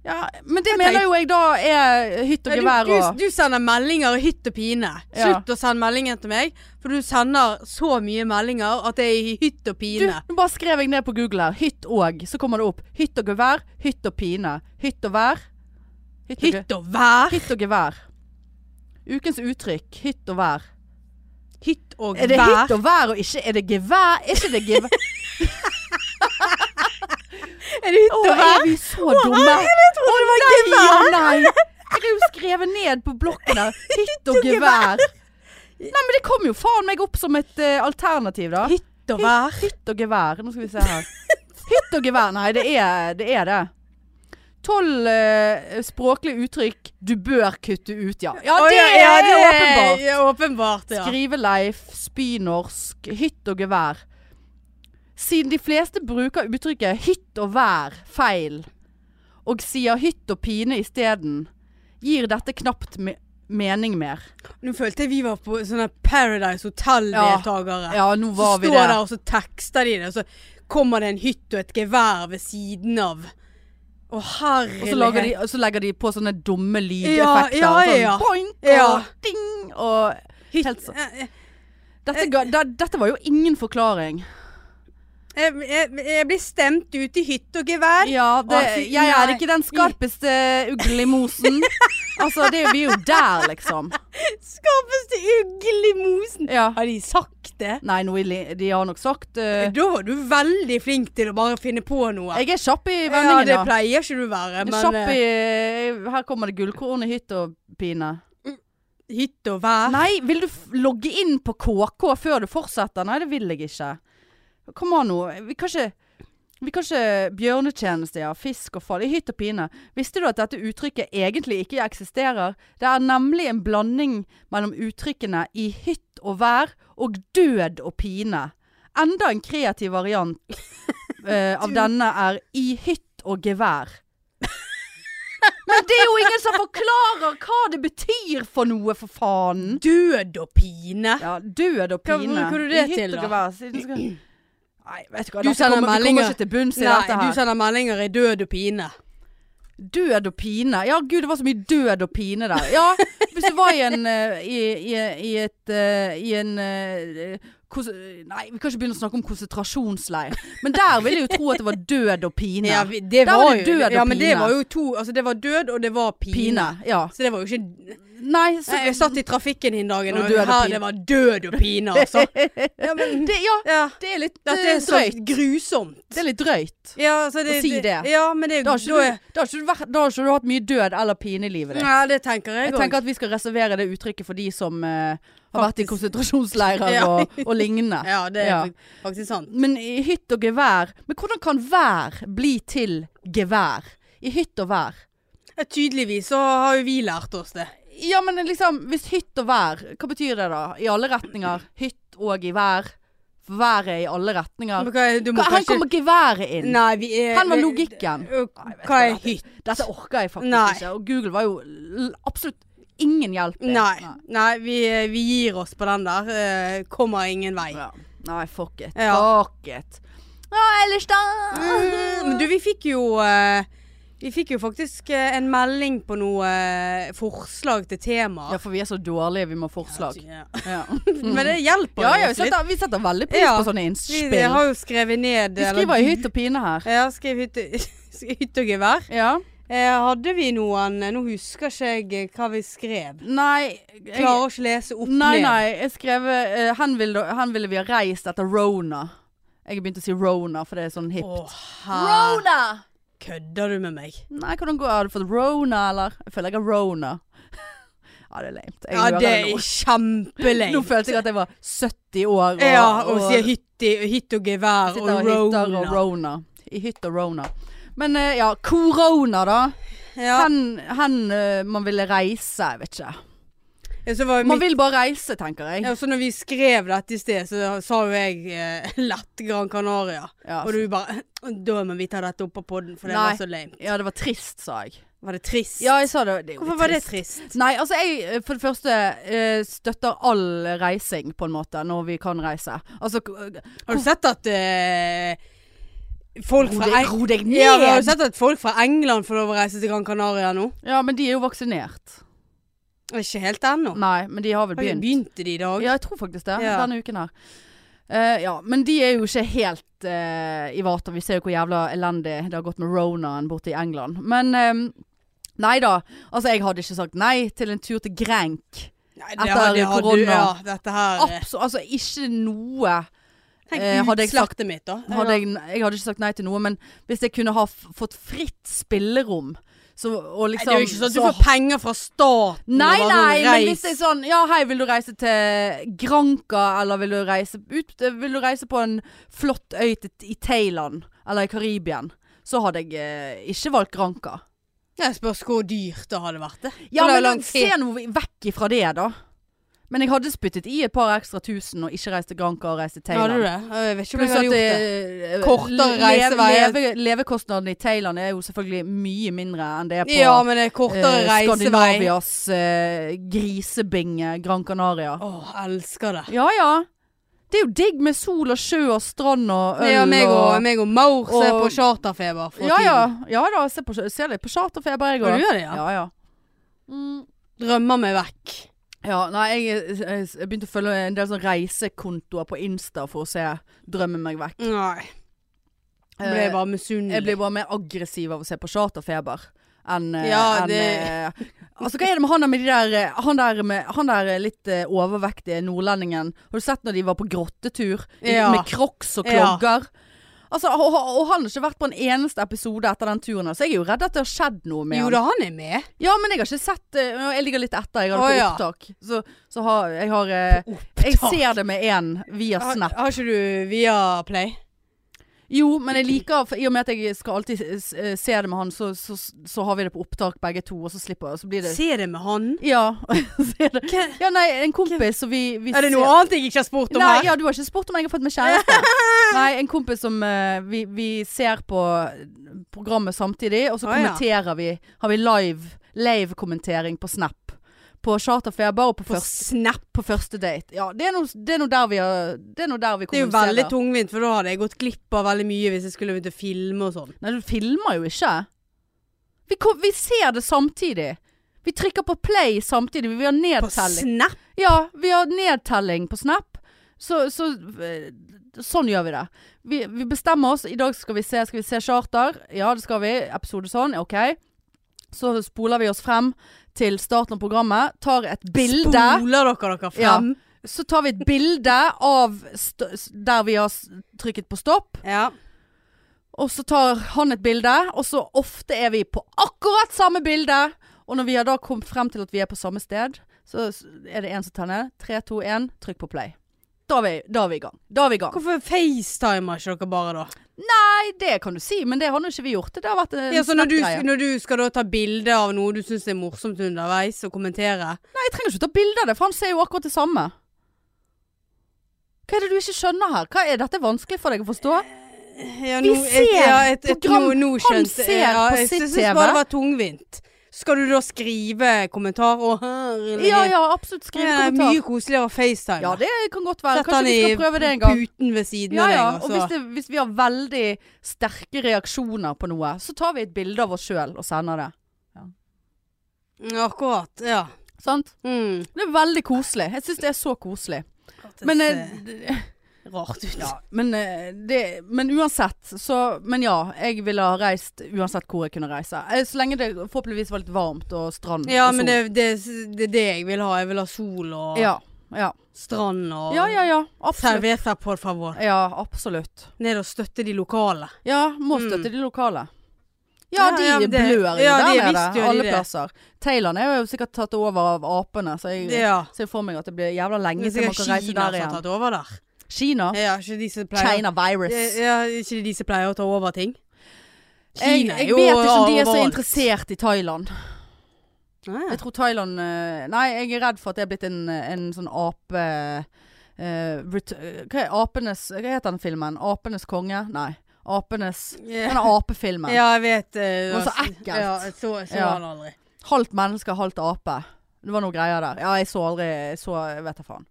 Speaker 1: Ja, men det
Speaker 2: Jeg
Speaker 1: mener
Speaker 2: tenkte-
Speaker 1: jo jeg da er hytt og
Speaker 2: Ja,
Speaker 1: gevær
Speaker 2: du,
Speaker 1: og
Speaker 2: du, du sender meldinger i hytt og pine.
Speaker 1: Ja.
Speaker 2: Slutt å sende meldinger til meg, for du sender så mye meldinger at det er i hytt og
Speaker 1: Du,
Speaker 2: pine.
Speaker 1: nå bare skrev jeg ned på Google her. Hytt og. Så kommer det opp. Hytt og gevær, hytt og pine. Hytt og vær. Hytt og, ge-
Speaker 2: hytt og vær.
Speaker 1: hytt og gevær. Ukens uttrykk. Hytt og vær.
Speaker 2: Hytt og
Speaker 1: Er det hytt
Speaker 2: vær.
Speaker 1: og vær og ikke Er det gevær? Er ikke det gevær?
Speaker 2: Er det hytt
Speaker 1: Å,
Speaker 2: og
Speaker 1: er
Speaker 2: vær?
Speaker 1: vi så dumme?
Speaker 2: Jeg trodde det var gevær.
Speaker 1: Nei, nei. Jeg har jo skrevet ned på blokken her. Hytt og
Speaker 2: og gevær.
Speaker 1: gevær. Nei, men det kom jo faen meg opp som et eh, alternativ, da.
Speaker 2: Hytt og vær.
Speaker 1: Hytt og gevær. Nå skal vi se her. Hytt og gevær. Nei, det er det. Er det. Tolv eh, språklige uttrykk du bør kutte ut, ja. Ja,
Speaker 2: Å,
Speaker 1: det,
Speaker 2: ja,
Speaker 1: er åpenbart.
Speaker 2: Ja, åpenbart, ja.
Speaker 1: Skriveleif, spynorsk, hytt og gevær. Siden de fleste bruker uttrykket hytt og vær feil, og sier hytt og pine isteden, gir dette knapt me mening mer.
Speaker 2: Nå følte jeg vi var på sånne Paradise Hotel-deltakere.
Speaker 1: Ja, nå
Speaker 2: så
Speaker 1: var vi
Speaker 2: står
Speaker 1: det.
Speaker 2: der, og så tekster de det, og så kommer det en hytt og et gevær ved siden av. Å, herlighet.
Speaker 1: Og så, lager de, og så legger de på sånne dumme
Speaker 2: Ja,
Speaker 1: lydeffekter.
Speaker 2: ja, ja.
Speaker 1: Sånn boink og
Speaker 2: Ja.
Speaker 1: ding og
Speaker 2: Hytt-
Speaker 1: helt så-
Speaker 2: Eh, eh,
Speaker 1: dette, ga, da, dette var jo ingen forklaring.
Speaker 2: Jeg, jeg, jeg blir stemt ut i hytt og gevær.
Speaker 1: Ja, det,
Speaker 2: Å, fy,
Speaker 1: jeg er
Speaker 2: nei.
Speaker 1: ikke den skarpeste uglen i mosen. Altså, det, vi er jo der, liksom.
Speaker 2: Skarpeste ugle i mosen.
Speaker 1: Ja.
Speaker 2: Har de sagt det?
Speaker 1: Nei, noe i li- de har nok sagt eh,
Speaker 2: Da var du veldig flink til å bare finne på noe.
Speaker 1: Jeg er kjapp i
Speaker 2: ja, det
Speaker 1: vendingen, da.
Speaker 2: pleier ikke du å være,
Speaker 1: Jeg er
Speaker 2: men
Speaker 1: Kjapp
Speaker 2: eh,
Speaker 1: i eh, Her kommer det gullkorn i hytt og pine.
Speaker 2: hytt og vær.
Speaker 1: Nei, vil du f logge inn på KK før du fortsetter? Nei, det vil jeg ikke. Kom an nå. Vi kan ikke vi kan ikke bjørnetjeneste, ja. Fisk og fall. I hytt og pine. Visste du at dette uttrykket egentlig ikke eksisterer? Det er nemlig en blanding mellom uttrykkene i hytt og vær og død og pine. Enda en kreativ variant eh, av denne er i hytt og gevær. Men det er jo ingen som forklarer hva det betyr for noe, for faen!
Speaker 2: Død og pine.
Speaker 1: Ja, død og
Speaker 2: Hva
Speaker 1: pine.
Speaker 2: bruker du
Speaker 1: I
Speaker 2: det
Speaker 1: hytt og
Speaker 2: til, da?
Speaker 1: gevær, siden skal- Nei, vet du hva.
Speaker 2: Du
Speaker 1: dette
Speaker 2: sender
Speaker 1: kommer, vi kommer
Speaker 2: meldinger.
Speaker 1: ikke til bunns i
Speaker 2: Nei,
Speaker 1: dette
Speaker 2: du
Speaker 1: her.
Speaker 2: sender meldinger i død og pine.
Speaker 1: Død og pine. Ja, gud, det var så mye død og pine der. Ja, hvis du var i en eh, i, i, i et eh, i en eh, kons- Nei, vi kan ikke begynne å snakke om konsentrasjonsleir. Men der ville jeg jo tro at det var død og pine.
Speaker 2: Ja, vi- det
Speaker 1: Der var det død og
Speaker 2: ja, men det
Speaker 1: pine.
Speaker 2: var jo to Altså, det var død, og det var pine.
Speaker 1: Pine. Ja.
Speaker 2: Så det var jo ikke
Speaker 1: Nei, så
Speaker 2: Nei, Jeg satt i trafikken den dagen,
Speaker 1: Og
Speaker 2: og,
Speaker 1: død og
Speaker 2: her
Speaker 1: pine.
Speaker 2: det var død og pine, altså. ja, men
Speaker 1: det, Ja,
Speaker 2: ja.
Speaker 1: det er litt
Speaker 2: Dette
Speaker 1: eh,
Speaker 2: er så
Speaker 1: drøyt.
Speaker 2: grusomt.
Speaker 1: Det er litt drøyt.
Speaker 2: Ja, altså det,
Speaker 1: Å si det.
Speaker 2: Ja, men det
Speaker 1: Da har
Speaker 2: da
Speaker 1: ikke
Speaker 2: er-
Speaker 1: du, da har ikke du, vært, da har ikke du hatt mye død eller pine i livet ditt.
Speaker 2: Ja, det tenker jeg
Speaker 1: Jeg
Speaker 2: òg.
Speaker 1: tenker at vi skal reservere det uttrykket for de som eh, har vært i
Speaker 2: Faktisk.
Speaker 1: konsentrasjonsleirer
Speaker 2: Ja.
Speaker 1: og, og lignende.
Speaker 2: Ja, det er
Speaker 1: Ja.
Speaker 2: fak- faktisk sant.
Speaker 1: Men i hytt og gevær Men hvordan kan vær bli til gevær? I hytt og vær.
Speaker 2: Ja, tydeligvis så har jo vi lært oss det.
Speaker 1: Ja, men liksom, hvis hytt og vær, hva betyr det da? I alle retninger. Hytt og i vær. For Været er i alle retninger.
Speaker 2: Men hva er, du må
Speaker 1: Hva, her
Speaker 2: kanskje
Speaker 1: kommer geværet inn.
Speaker 2: Nei, vi er
Speaker 1: Her var logikken.
Speaker 2: Øh,
Speaker 1: Nei, vet du
Speaker 2: Hva er
Speaker 1: dette-
Speaker 2: hytt?
Speaker 1: Dette orker jeg faktisk
Speaker 2: Nei.
Speaker 1: ikke. Og Google var jo l- absolutt ingen hjelp. i.
Speaker 2: Nei, nei vi, eh, vi gir oss på den der. Eh, kommer ingen vei.
Speaker 1: Ja. Nei, fuck it.
Speaker 2: Ja.
Speaker 1: Fuck it. Ja, ellers da Mm.
Speaker 2: Mm, Men du, vi fikk jo eh, Vi fikk jo faktisk eh, en melding på noe eh, forslag til
Speaker 1: Ja,
Speaker 2: tema.
Speaker 1: for vi er så dårlige, vi må ha forslag.
Speaker 2: Ja.
Speaker 1: Ja,
Speaker 2: Men det hjelper
Speaker 1: ja,
Speaker 2: jo
Speaker 1: vi,
Speaker 2: oss litt.
Speaker 1: setter, vi setter veldig pris
Speaker 2: Ja.
Speaker 1: på sånne
Speaker 2: Vi,
Speaker 1: innspill.
Speaker 2: jeg har jo skrevet ned eh,
Speaker 1: Vi skriver i hytt og pine her.
Speaker 2: Ja, skriv hytte, hytte og gevær.
Speaker 1: Ja.
Speaker 2: Eh, hadde vi noen eh, Nå husker ikke jeg eh, hva vi skrev.
Speaker 1: Nei, jeg,
Speaker 2: Klarer ikke å lese opp
Speaker 1: nei,
Speaker 2: ned.
Speaker 1: nei, jeg skrev eh, hen, ville, hen ville vi ha reist etter Rona. Jeg begynte å si Rona, for det er sånn hipt.
Speaker 2: Å, her
Speaker 1: Rona!
Speaker 2: kødder du med meg?
Speaker 1: Nei, hvordan går det? Har du fått Rona, eller? Jeg føler jeg har Rona. ja, det er lame. Jeg
Speaker 2: Ja,
Speaker 1: hører
Speaker 2: det
Speaker 1: nå.
Speaker 2: er kjempeleit.
Speaker 1: Nå følte jeg at jeg var 70 år. Og,
Speaker 2: Ja, og sier hytte, hytt og gevær og
Speaker 1: sitter og
Speaker 2: rona.
Speaker 1: hytter og Rona. I hytt og Rona. Men eh, ja, korona da.
Speaker 2: Ja.
Speaker 1: Hen, hen eh, man ville reise, jeg vet ikke.
Speaker 2: Ja, så var
Speaker 1: Man
Speaker 2: mitt,
Speaker 1: vil bare reise, tenker jeg.
Speaker 2: ja, så når vi skrev dette i sted, så sa jo jeg eh, lett Gran Canaria.
Speaker 1: Ja,
Speaker 2: Og du bare Da må vi ta dette opp på podden, for det
Speaker 1: Nei.
Speaker 2: var så lame.
Speaker 1: ja det var trist, sa jeg.
Speaker 2: Var det trist?
Speaker 1: Ja, jeg sa det. det er jo
Speaker 2: Hvorfor var det trist?
Speaker 1: Nei, altså jeg eh, for det første eh, støtter all reising på en måte, når vi kan reise. Altså, k-
Speaker 2: Har du sett at eh, Folk
Speaker 1: Ro
Speaker 2: fra
Speaker 1: deg,
Speaker 2: Eng-
Speaker 1: ro deg
Speaker 2: Ja, vi har jo
Speaker 1: ned!
Speaker 2: sett at folk fra England får lov å reise til Gran Canaria nå.
Speaker 1: Ja, men de er jo vaksinert.
Speaker 2: Ikke helt ennå.
Speaker 1: Nei, men de Mm, har vel
Speaker 2: Har jo
Speaker 1: begynt.
Speaker 2: Begynte de i dag?
Speaker 1: Ja, jeg tror faktisk det.
Speaker 2: Ja.
Speaker 1: Denne uken her. Eh, ja, men de er jo ikke helt eh, i vater. Vi ser jo hvor jævla elendig det har gått med ronaen borte i England. Men eh, nei da. Altså, jeg hadde ikke sagt nei til en tur til Grenk.
Speaker 2: Nei,
Speaker 1: Etter
Speaker 2: har- har
Speaker 1: korona.
Speaker 2: du- Ja, dette her eh,
Speaker 1: Abs altså, ikke noe.
Speaker 2: Tenk
Speaker 1: eh, hadde jeg sagt-
Speaker 2: utslettet mitt, da.
Speaker 1: Hadde jeg, jeg hadde ikke sagt nei til noe, men hvis jeg kunne ha f fått fritt spillerom, så og
Speaker 2: Nei,
Speaker 1: liksom
Speaker 2: det er jo ikke sånn at du
Speaker 1: så-
Speaker 2: får penger fra staten.
Speaker 1: Nei,
Speaker 2: og bare
Speaker 1: nei, men
Speaker 2: reis.
Speaker 1: hvis det er sånn Ja, hei, vil du reise til Granca, eller vil du reise ut eh, Vil du reise på en flott øy til, i Thailand, eller i Karibien, så hadde jeg eh, ikke valgt Granca.
Speaker 2: Jeg spørs hvor dyrt det hadde vært. det.
Speaker 1: Ja,
Speaker 2: Eller
Speaker 1: men
Speaker 2: lang
Speaker 1: da,
Speaker 2: tid.
Speaker 1: se nå vekk ifra det, da. Men jeg hadde spyttet i et par ekstra tusen og ikke reist til Granca og reist til
Speaker 2: Hadde du
Speaker 1: Thailand.
Speaker 2: det? Jeg vet ikke om jeg
Speaker 1: Pluss at
Speaker 2: hadde gjort det.
Speaker 1: eh,
Speaker 2: Kortere
Speaker 1: le-
Speaker 2: reiseveier.
Speaker 1: Leve, levekostnadene i Thailand er jo selvfølgelig mye mindre enn det er på
Speaker 2: Ja, men det er kortere
Speaker 1: eh,
Speaker 2: reisevei.
Speaker 1: Skandinavias eh, grisebinge Gran Canaria.
Speaker 2: Å, elsker det.
Speaker 1: Ja ja. Det er jo digg med sol og sjø og strand og øl
Speaker 2: Ja, meg og,
Speaker 1: og
Speaker 2: meg og Maur som er
Speaker 1: og-
Speaker 2: på charterfeber. for
Speaker 1: Ja ja.
Speaker 2: tiden.
Speaker 1: Ja da, se på, ser litt på charterfeber jeg
Speaker 2: Og du
Speaker 1: òg.
Speaker 2: gjør det, ja?
Speaker 1: Ja ja. Mm.
Speaker 2: Drømmer meg vekk.
Speaker 1: Ja, nei, jeg, jeg, jeg begynte å følge en del sånn reisekontoer på Insta for å se 'Drømmen meg vekk'.
Speaker 2: Nei. Jeg ble
Speaker 1: Eh,
Speaker 2: bare
Speaker 1: Jeg
Speaker 2: misunnelig.
Speaker 1: blir bare mer aggressiv av å se på charterfeber enn eh,
Speaker 2: Ja,
Speaker 1: enn,
Speaker 2: det-
Speaker 1: eh, Altså, hva er det med han der med de der eh, Han der, med, han der eh, litt eh, overvektige nordlendingen. Har du sett når de var på grottetur i-
Speaker 2: Ja.
Speaker 1: med crocs og
Speaker 2: Ja.
Speaker 1: klogger? Altså, og, og og han har ikke vært på en eneste episode etter den turen, her, så jeg er jo redd at det har skjedd noe med
Speaker 2: Jo
Speaker 1: han.
Speaker 2: da, han er med.
Speaker 1: Ja, men jeg har ikke sett eh, og Jeg ligger litt etter. Jeg har
Speaker 2: Å,
Speaker 1: det på
Speaker 2: ja.
Speaker 1: opptak. Så, så har, jeg har eh, Jeg ser det med én via
Speaker 2: Har,
Speaker 1: Snap.
Speaker 2: har ikke du Viaplay?
Speaker 1: Jo, men jeg liker for I og med at jeg skal alltid s- eh, se det med han, så, så, så har vi det på opptak begge to, og så slipper Så blir det
Speaker 2: Se det med han.
Speaker 1: Ja. se det.
Speaker 2: Hva?
Speaker 1: Ja, nei, en kompis som vi, vi
Speaker 2: Er det noe
Speaker 1: ser-
Speaker 2: annet jeg ikke har spurt om
Speaker 1: Nei,
Speaker 2: her?
Speaker 1: ja, du har ikke spurt om jeg har fått meg kjæreste. Nei, en kompis som eh, vi, vi ser på programmet samtidig, og så
Speaker 2: Å, ja.
Speaker 1: kommenterer vi Har vi live live-kommentering på Snap. På charterfeber og på,
Speaker 2: På
Speaker 1: først,
Speaker 2: Snap.
Speaker 1: på første date. Ja, det er noe, det er noe der vi har Det er noe der vi
Speaker 2: Det er jo
Speaker 1: kommuniserer.
Speaker 2: veldig tungvint, for da hadde jeg gått glipp av veldig mye hvis jeg skulle begynt å filme og sånn.
Speaker 1: Nei, du filmer jo ikke. Vi, kom, vi ser det samtidig. Vi trykker på play samtidig. Vi har
Speaker 2: På
Speaker 1: nedtelling.
Speaker 2: Snap?
Speaker 1: Ja, vi har nedtelling på Snap. Så, så eh, sånn gjør vi det. Vi, vi bestemmer oss. I dag skal vi se, skal vi se charter. Ja, det skal vi. Episode sånn. OK. Så spoler vi oss frem til starten av programmet. Tar et bilde.
Speaker 2: Spoler dere dere frem?
Speaker 1: Så tar vi et bilde av st der vi har s- trykket på stopp.
Speaker 2: Ja.
Speaker 1: Og så tar han et bilde, og så ofte er vi på akkurat samme bilde. Og når vi har da kommet frem til at vi er på samme sted, så s- er det én som tar ned. Tre, to, én, trykk på play. Da er, vi, da er vi i gang. Da er vi i gang.
Speaker 2: Hvorfor facetimer ikke dere bare da?
Speaker 1: Nei, det kan du si, men det har nå ikke vi gjort. Det har vært en
Speaker 2: Ja, så når du,
Speaker 1: Snap-greie.
Speaker 2: når du skal da ta bilde av noe du syns er morsomt underveis, og kommentere
Speaker 1: Nei, jeg trenger ikke ta bilde av det, for han ser jo akkurat det samme. Hva er det du ikke skjønner her? Hva Er dette vanskelig for deg å forstå?
Speaker 2: ja,
Speaker 1: Vi
Speaker 2: nå- et-
Speaker 1: ser
Speaker 2: ja, et- et-
Speaker 1: program-
Speaker 2: nå- nå
Speaker 1: han
Speaker 2: skjønte-
Speaker 1: ser
Speaker 2: ja,
Speaker 1: på
Speaker 2: jeg
Speaker 1: sitt
Speaker 2: synes
Speaker 1: TV.
Speaker 2: bare det var tungvint. Skal du da skrive kommentar? Å, herlig.
Speaker 1: Ja, ja, absolutt. Skriv
Speaker 2: Ja, det er
Speaker 1: kommentar.
Speaker 2: mye koseligere å facetime.
Speaker 1: Ja, det kan godt være.
Speaker 2: Sett
Speaker 1: Kanskje
Speaker 2: han
Speaker 1: vi
Speaker 2: i
Speaker 1: skal prøve det en gang.
Speaker 2: Puten ved siden
Speaker 1: Ja,
Speaker 2: av
Speaker 1: ja.
Speaker 2: deg. altså.
Speaker 1: Og hvis, det, hvis vi har veldig sterke reaksjoner på noe, så tar vi et bilde av oss sjøl og sender det.
Speaker 2: Ja, Akkurat. Ja.
Speaker 1: Sant?
Speaker 2: Mm.
Speaker 1: Det er veldig koselig. Jeg syns det er så koselig.
Speaker 2: Det
Speaker 1: Men,
Speaker 2: ser
Speaker 1: eh, d-
Speaker 2: rart ut.
Speaker 1: ja, men, eh, det, men uansett, så Men ja, jeg ville ha reist uansett hvor jeg kunne reise. Eh, Så lenge det forhåpentligvis var litt varmt og strand
Speaker 2: Ja,
Speaker 1: og
Speaker 2: men det, det, det er det jeg vil ha. Jeg vil ha sol og
Speaker 1: ja, ja.
Speaker 2: strand og
Speaker 1: ja, ja, ja. Absolutt.
Speaker 2: Serveter, por favor.
Speaker 1: Ja, absolutt.
Speaker 2: Ned og støtte de lokale.
Speaker 1: Ja, må
Speaker 2: Mm.
Speaker 1: støtte de lokale. Ja,
Speaker 2: Ja,
Speaker 1: de
Speaker 2: ja, men det-
Speaker 1: blør jo
Speaker 2: ja, de
Speaker 1: der nede.
Speaker 2: visst gjør de
Speaker 1: Alle
Speaker 2: det.
Speaker 1: plasser. Thailand er jo sikkert tatt over av apene, så jeg
Speaker 2: Ja.
Speaker 1: ser for meg at det blir jævla lenge
Speaker 2: Hvis
Speaker 1: til
Speaker 2: jeg
Speaker 1: man
Speaker 2: har
Speaker 1: kan reise
Speaker 2: Kina
Speaker 1: der
Speaker 2: som har
Speaker 1: igjen.
Speaker 2: tatt over der.
Speaker 1: Kina?
Speaker 2: Ja, ikke de som pleier,
Speaker 1: China virus.
Speaker 2: ja, ikke de som pleier å ta over ting.
Speaker 1: Jeg,
Speaker 2: Kina er
Speaker 1: jeg
Speaker 2: jo
Speaker 1: vet ikke om de er så
Speaker 2: overalt.
Speaker 1: interessert i Thailand.
Speaker 2: Ah, ja.
Speaker 1: Jeg tror Thailand eh, Nei, jeg er redd for at det er blitt en, en sånn ape... eh, ret- eh, hva, er apenes, hva heter den filmen? Apenes konge? Nei. Apenes
Speaker 2: Ja.
Speaker 1: Den apefilmen.
Speaker 2: ja, jeg vet eh,
Speaker 1: Men så
Speaker 2: altså,
Speaker 1: ekkelt.
Speaker 2: Ja, jeg så, jeg så
Speaker 1: Ja.
Speaker 2: han aldri.
Speaker 1: Halvt menneske, halvt ape. Det var noe greier der. Ja, jeg så aldri jeg så, Jeg vet da faen.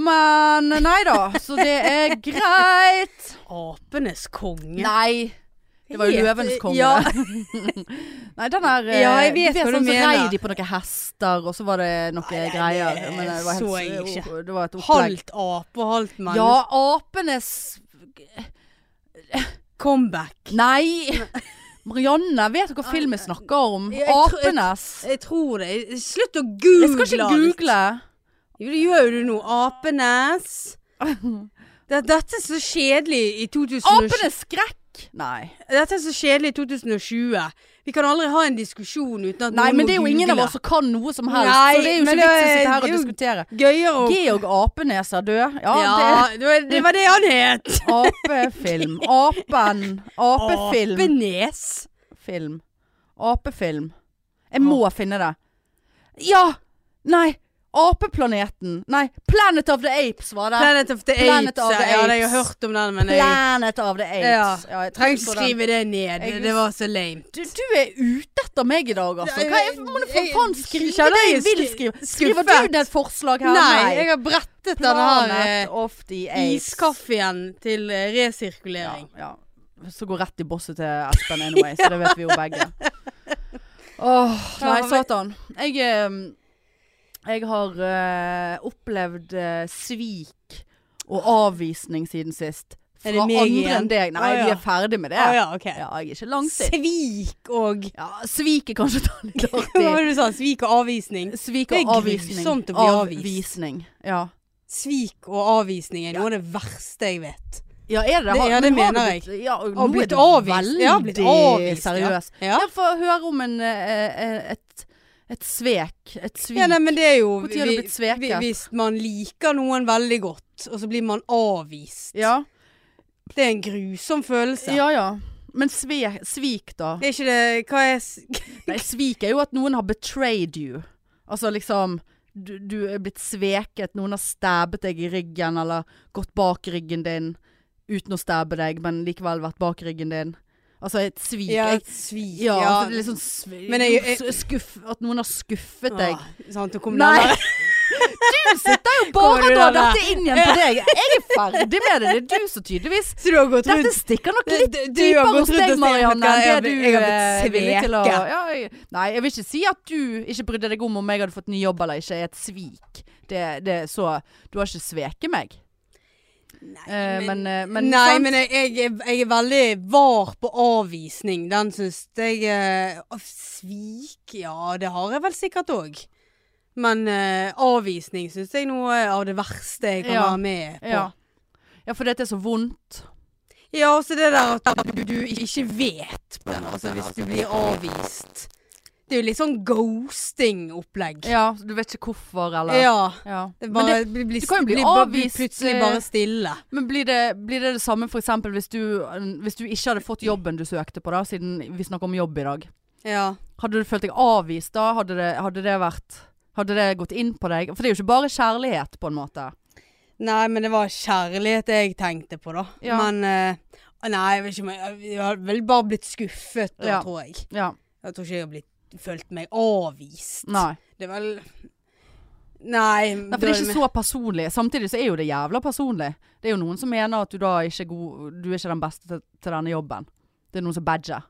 Speaker 1: Men nei da, så det er greit.
Speaker 2: Apenes konge.
Speaker 1: Nei. Det var jo
Speaker 2: Helt- eh,
Speaker 1: løvens konge.
Speaker 2: Ja.
Speaker 1: Nei, den er eh,
Speaker 2: Ja, jeg vet
Speaker 1: du
Speaker 2: hva du
Speaker 1: sånn, så
Speaker 2: mener.
Speaker 1: rei de på noen hester, og så var det noen
Speaker 2: Nei, det
Speaker 1: greier. Men det var helt, eh,
Speaker 2: så jeg ikke.
Speaker 1: Det var et opplegg.
Speaker 2: Halvt ape og halvt menneske.
Speaker 1: Ja, apenes
Speaker 2: Comeback.
Speaker 1: Nei! Marianne vet du hva filmen snakker om.
Speaker 2: Ja, jeg tror- jeg-
Speaker 1: Apenes.
Speaker 2: Jeg tror det. Slutt å google.
Speaker 1: Jeg skal ikke
Speaker 2: alt.
Speaker 1: google.
Speaker 2: Jo, det gjør jo du nå. Apenes. Det, dette er så kjedelig i 2020.
Speaker 1: Apenes skrekk! Nei.
Speaker 2: Dette er så kjedelig i 2020. Vi kan aldri ha en diskusjon uten at
Speaker 1: Nei,
Speaker 2: noen
Speaker 1: men
Speaker 2: må
Speaker 1: det er jo ingen av
Speaker 2: google.
Speaker 1: oss som kan noe som helst.
Speaker 2: Nei,
Speaker 1: så det er jo
Speaker 2: men
Speaker 1: ikke
Speaker 2: det
Speaker 1: vits i å
Speaker 2: er-
Speaker 1: sitte her og
Speaker 2: det er jo-
Speaker 1: diskutere.
Speaker 2: Gøyere å
Speaker 1: Georg Apenes er død. Ja,
Speaker 2: Ja,
Speaker 1: det er
Speaker 2: det, var- det var det han het.
Speaker 1: apefilm. Apen. Apefilm.
Speaker 2: Apenes.
Speaker 1: Film. Apefilm. Jeg må finne det. Ja! Nei! Apeplaneten. Nei, Planet of the Apes var det.
Speaker 2: Planet of the
Speaker 1: Planet of
Speaker 2: Apes.
Speaker 1: the
Speaker 2: ja. Ja, jeg har
Speaker 1: Apes.
Speaker 2: hørt om den, men jeg
Speaker 1: Planet of the Apes. Ja, jeg
Speaker 2: trenger
Speaker 1: tenkte
Speaker 2: ikke
Speaker 1: på den.
Speaker 2: skrive det ned.
Speaker 1: Jeg-
Speaker 2: Det var så lame.
Speaker 1: Du, du er ute etter meg i dag, altså. Hva er, må du for
Speaker 2: Jeg-
Speaker 1: faen
Speaker 2: jeg-
Speaker 1: skrive
Speaker 2: kjenner
Speaker 1: det jeg
Speaker 2: jeg
Speaker 1: vil
Speaker 2: skri-
Speaker 1: skrive? Skriver
Speaker 2: skuffet.
Speaker 1: du ned et forslag her?
Speaker 2: Nei, jeg har brettet den her
Speaker 1: Planet of the
Speaker 2: eh,
Speaker 1: Apes.
Speaker 2: iskaffen til eh,
Speaker 1: Ja,
Speaker 2: resirkulering.
Speaker 1: ja. Så går rett i bosset til Espen anyway, så det vet vi jo begge. Åh, nei,
Speaker 2: Ja, men-
Speaker 1: satan. Jeg, eh, jeg har eh, opplevd eh, svik og avvisning siden sist. Fra
Speaker 2: Er det meg
Speaker 1: andre
Speaker 2: igjen?
Speaker 1: enn deg. Nei,
Speaker 2: Å, ja.
Speaker 1: vi er ferdig med det.
Speaker 2: Å ja, ok.
Speaker 1: Ja, jeg er ikke langt i.
Speaker 2: Svik og
Speaker 1: Ja, svik er kanskje et litt
Speaker 2: Hva var
Speaker 1: artig.
Speaker 2: det du sa? Svik og avvisning?
Speaker 1: Svik
Speaker 2: Det er
Speaker 1: og avvisning.
Speaker 2: grusomt å bli avvist.
Speaker 1: Avvisning, Ja.
Speaker 2: Svik og avvisning er noe av det verste jeg vet.
Speaker 1: ja, er det
Speaker 2: Det-
Speaker 1: Har-
Speaker 2: ja, det
Speaker 1: men har
Speaker 2: mener
Speaker 1: du blitt- Ja, og
Speaker 2: Å
Speaker 1: nå
Speaker 2: bli
Speaker 1: er du
Speaker 2: avvist. Ja, blitt
Speaker 1: veldig
Speaker 2: avvist, ja.
Speaker 1: seriøs.
Speaker 2: Ja.
Speaker 1: Jeg får høre om en, eh, eh, et, et svek. Et svik.
Speaker 2: Ja, nei, men det er jo
Speaker 1: Hvor tid har du blitt sveket?
Speaker 2: vi- Hvis man liker noen veldig godt, og så blir man avvist.
Speaker 1: ja.
Speaker 2: Det er en grusom følelse.
Speaker 1: ja, ja. Men svek, svik, da?
Speaker 2: Det er ikke det Hva er s-
Speaker 1: Nei, svik er jo at noen har betrayed you. Altså liksom du, du er blitt sveket, noen har stabbet deg i ryggen, eller gått bak ryggen din uten å stabbe deg, men likevel vært bak ryggen din. Altså et svik.
Speaker 2: Ja,
Speaker 1: Jeg,
Speaker 2: et svik.
Speaker 1: ja, altså, det er litt sånn sv
Speaker 2: Men jeg- jeg-
Speaker 1: s- skuff, At noen har skuffet deg.
Speaker 2: Ah, sant, og kom
Speaker 1: Nei.
Speaker 2: den der.
Speaker 1: Du sitter jo
Speaker 2: Kommer
Speaker 1: bare
Speaker 2: du
Speaker 1: og drar
Speaker 2: der?
Speaker 1: dette inn igjen på deg. Jeg er ferdig med det. Det er du som tydeligvis
Speaker 2: Så du har gått
Speaker 1: Dette
Speaker 2: rundt
Speaker 1: stikker nok litt
Speaker 2: Du- du har
Speaker 1: dypere
Speaker 2: gått
Speaker 1: hos
Speaker 2: rundt og
Speaker 1: deg,
Speaker 2: sagt,
Speaker 1: Marianne,
Speaker 2: «Hva, jeg har
Speaker 1: enn det du
Speaker 2: blitt- jeg har blitt
Speaker 1: eh, er villig til å
Speaker 2: sveket».
Speaker 1: ja, jeg, Nei, jeg vil ikke si at du ikke brydde deg om om jeg hadde fått ny jobb eller ikke, er et svik. Det, det, så du har ikke sveket meg. Eh, men, eh, men,
Speaker 2: Nei,
Speaker 1: sant?
Speaker 2: men jeg, jeg, er- jeg er veldig var på avvisning. Den syns jeg eh, å, Svik, ja, det har jeg vel sikkert òg. Men eh, avvisning syns jeg noe av det verste jeg kan
Speaker 1: Ja.
Speaker 2: være med på.
Speaker 1: ja. ja, for dette er så vondt.
Speaker 2: Ja, også det der at du, du ikke vet på den, altså hvis du blir avvist. Det er jo litt sånn ghosting-opplegg.
Speaker 1: Ja, du vet ikke hvorfor, eller
Speaker 2: Ja.
Speaker 1: Ja.
Speaker 2: Det
Speaker 1: Men,
Speaker 2: bare,
Speaker 1: det,
Speaker 2: blir- blir-
Speaker 1: du kan jo bli
Speaker 2: blir bare-
Speaker 1: avvist,
Speaker 2: Blir plutselig
Speaker 1: eh,
Speaker 2: bare stille.
Speaker 1: men blir det, blir det det samme for eksempel hvis du, hvis du ikke hadde fått jobben du søkte på, da, siden vi snakker om jobb i dag?
Speaker 2: Ja.
Speaker 1: Hadde du følt deg avvist da? Hadde det, hadde det vært Hadde det gått inn på deg? For det er jo ikke bare kjærlighet, på en måte.
Speaker 2: Nei, men det var kjærlighet jeg tenkte på, da.
Speaker 1: Ja.
Speaker 2: Men eh, Nei, jeg vet ikke om jeg Jeg har vel bare blitt skuffet, da,
Speaker 1: Ja.
Speaker 2: tror jeg.
Speaker 1: Ja.
Speaker 2: Jeg tror ikke jeg har blitt følt meg avvist.
Speaker 1: Nei.
Speaker 2: Det er vel Nei.
Speaker 1: Nei, for det er ikke så personlig. Samtidig så er jo det jævla personlig. Det er jo noen som mener at du da ikke er god Du er ikke den beste til, til denne jobben. Det er noen som badger.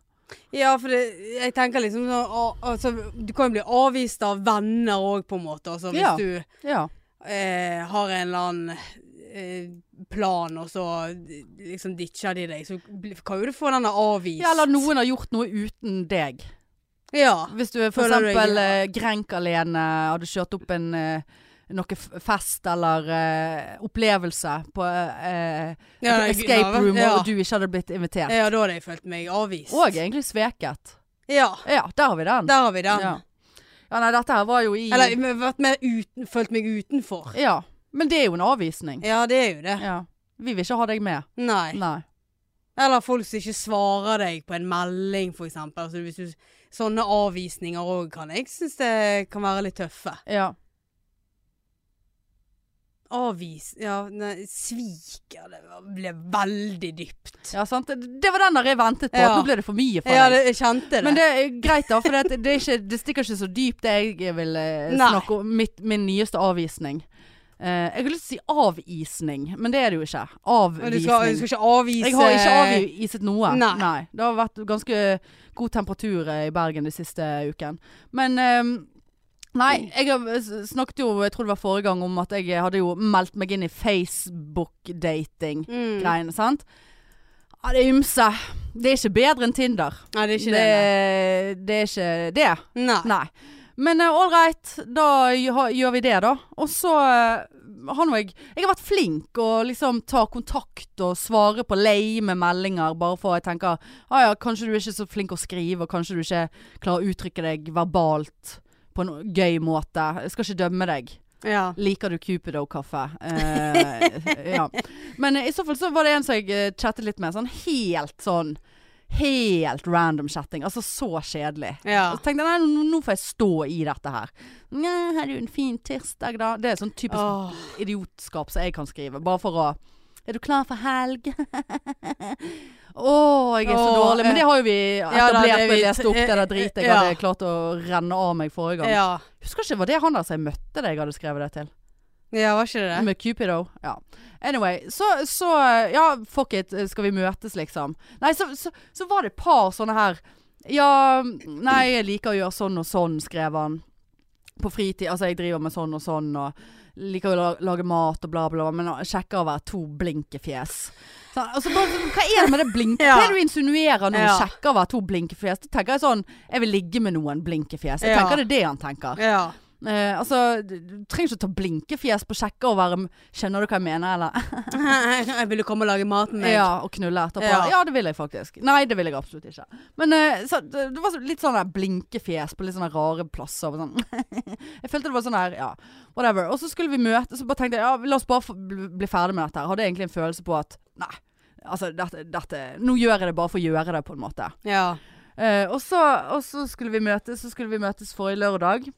Speaker 2: Ja, for det, jeg tenker liksom sånn å- altså, Du kan jo bli avvist av venner òg, på en måte. Altså, hvis
Speaker 1: Ja.
Speaker 2: du
Speaker 1: Ja.
Speaker 2: eh, har en eller annen eh, plan, og så eh, liksom ditcher de deg, så bli- kan jo du få denne avvist.
Speaker 1: ja. Eller noen har gjort noe uten deg.
Speaker 2: Ja.
Speaker 1: Hvis du er for
Speaker 2: Føler du deg-
Speaker 1: eksempel eh, grenk alene, hadde kjørt opp en eh, noe f- fest eller eh, opplevelse på eh,
Speaker 2: Ja, nei,
Speaker 1: escape
Speaker 2: ja,
Speaker 1: room,
Speaker 2: ja.
Speaker 1: og du ikke hadde blitt invitert.
Speaker 2: Ja, da hadde jeg følt meg avvist.
Speaker 1: Og egentlig sveket.
Speaker 2: Ja,
Speaker 1: Ja, der har vi den.
Speaker 2: der har vi den.
Speaker 1: Ja. ja, nei, dette her var jo i
Speaker 2: Eller jeg har vært mer uten, følt meg utenfor.
Speaker 1: Ja. Men det er jo en avvisning.
Speaker 2: Ja, det er jo det.
Speaker 1: Ja. Vi vil ikke ha deg med.
Speaker 2: Nei.
Speaker 1: Nei.
Speaker 2: Eller folk som ikke svarer deg på en melding, for eksempel. Altså, hvis du, sånne avvisninger òg kan jeg synes det kan være litt tøffe.
Speaker 1: Ja.
Speaker 2: Avvis... Ja, nei, svik ja, Det ble veldig dypt.
Speaker 1: ja, sant. Det det var den der jeg ventet på.
Speaker 2: Ja.
Speaker 1: at Nå ble det for mye for
Speaker 2: Ja,
Speaker 1: deg.
Speaker 2: det, jeg kjente det.
Speaker 1: Men det er greit, da. For det, det, er ikke, det stikker ikke så dypt, det jeg vil eh,
Speaker 2: Nei.
Speaker 1: snakke om. Mitt, min nyeste avvisning. Eh, jeg har lyst til å si avisning, men det er det jo ikke. Avvisning.
Speaker 2: Du skal, du skal ikke avvise
Speaker 1: Jeg har ikke avgiset noe.
Speaker 2: Nei.
Speaker 1: Det har vært ganske god temperatur eh, i Bergen de siste uken. Men ehm, Nei, jeg har s- snakket jo, jeg tror det var forrige gang, om at jeg hadde jo meldt meg inn i Facebook-dating-greiene,
Speaker 2: Mm.
Speaker 1: sant? Ja, det er ymse. Det er ikke bedre enn Tinder.
Speaker 2: Nei, det er ikke det.
Speaker 1: Det, det er ikke det.
Speaker 2: nei. Nei.
Speaker 1: Nei. Men eh, all right, da gjør gjør vi det, da. Og så eh, har nå jeg Jeg har vært flink og liksom tar kontakt og svarer på lame meldinger, bare for jeg tenker ah, ja, kanskje du er ikke så flink å skrive, og kanskje du ikke klarer å uttrykke deg verbalt på en gøy måte. Jeg skal ikke dømme deg.
Speaker 2: Ja.
Speaker 1: Liker du Cupido-kaffe? Eh, ja. Men eh, i så fall så var det en som jeg eh, chattet litt med, sånn helt sånn Helt random chatting. Altså så kjedelig.
Speaker 2: ja.
Speaker 1: Og Så tenkte jeg, nei, nå- nå får jeg stå i dette her. Nei, har du en fin tirsdag da? Det er sånn typisk
Speaker 2: Åh.
Speaker 1: idiotskap som jeg kan skrive. Bare for å, er du klar for helg? Åh, jeg er så
Speaker 2: Åh, eh,
Speaker 1: dårlig. Men det har jo vi
Speaker 2: da,
Speaker 1: etablert
Speaker 2: det
Speaker 1: og
Speaker 2: er vi-
Speaker 1: lest opp det der dritet jeg
Speaker 2: Ja.
Speaker 1: hadde klart å renne av meg forrige gang.
Speaker 2: ja.
Speaker 1: Husker ikke, var det han der som jeg møtte deg jeg hadde skrevet det til?
Speaker 2: Ja, var ikke det det?
Speaker 1: Med Cupido. Ja. Anyway, så, så Ja, fuck it, skal vi møtes, liksom? Nei, så, så, så var det et par sånne her Ja, nei, jeg liker å gjøre sånn og sånn, skrev han. På fritid. Altså, jeg driver med sånn og sånn, og liker å la- lage mat og bla, bla, bla, men kjekker å være to blinkefjes. Så, altså, bare, sånn, hva er det med det blinke...
Speaker 2: Ja.
Speaker 1: Hva er det du insinuerer når
Speaker 2: Ja.
Speaker 1: du sjekker å være to blinkefjes? Da tenker jeg sånn Jeg vil ligge med noen blinkefjes. Jeg
Speaker 2: Ja.
Speaker 1: tenker det er det han tenker.
Speaker 2: Ja.
Speaker 1: Eh, altså, du, du trenger ikke å ta blinkefjes på sjekker og være Skjønner du hva jeg mener, eller?
Speaker 2: Jeg ville komme og lage mat med meg.
Speaker 1: Ja, og knulle etterpå. Ja.
Speaker 2: Ja.
Speaker 1: det vil jeg faktisk. Nei, det vil jeg absolutt ikke. Men eh, så, det det var så- litt sånn der blinkefjes på litt sånne rare plasser. og Sånn. jeg følte det var sånn her, ja, whatever. Og så skulle vi møte, så bare tenkte jeg ja, la oss bare få bli, bli ferdig med dette her. Hadde egentlig en følelse på at nei, altså dette, dette Nå gjør jeg det bare for å gjøre det, på en måte.
Speaker 2: Ja.
Speaker 1: Eh, og, så, og så skulle vi møtes, så skulle vi møtes forrige lørdag.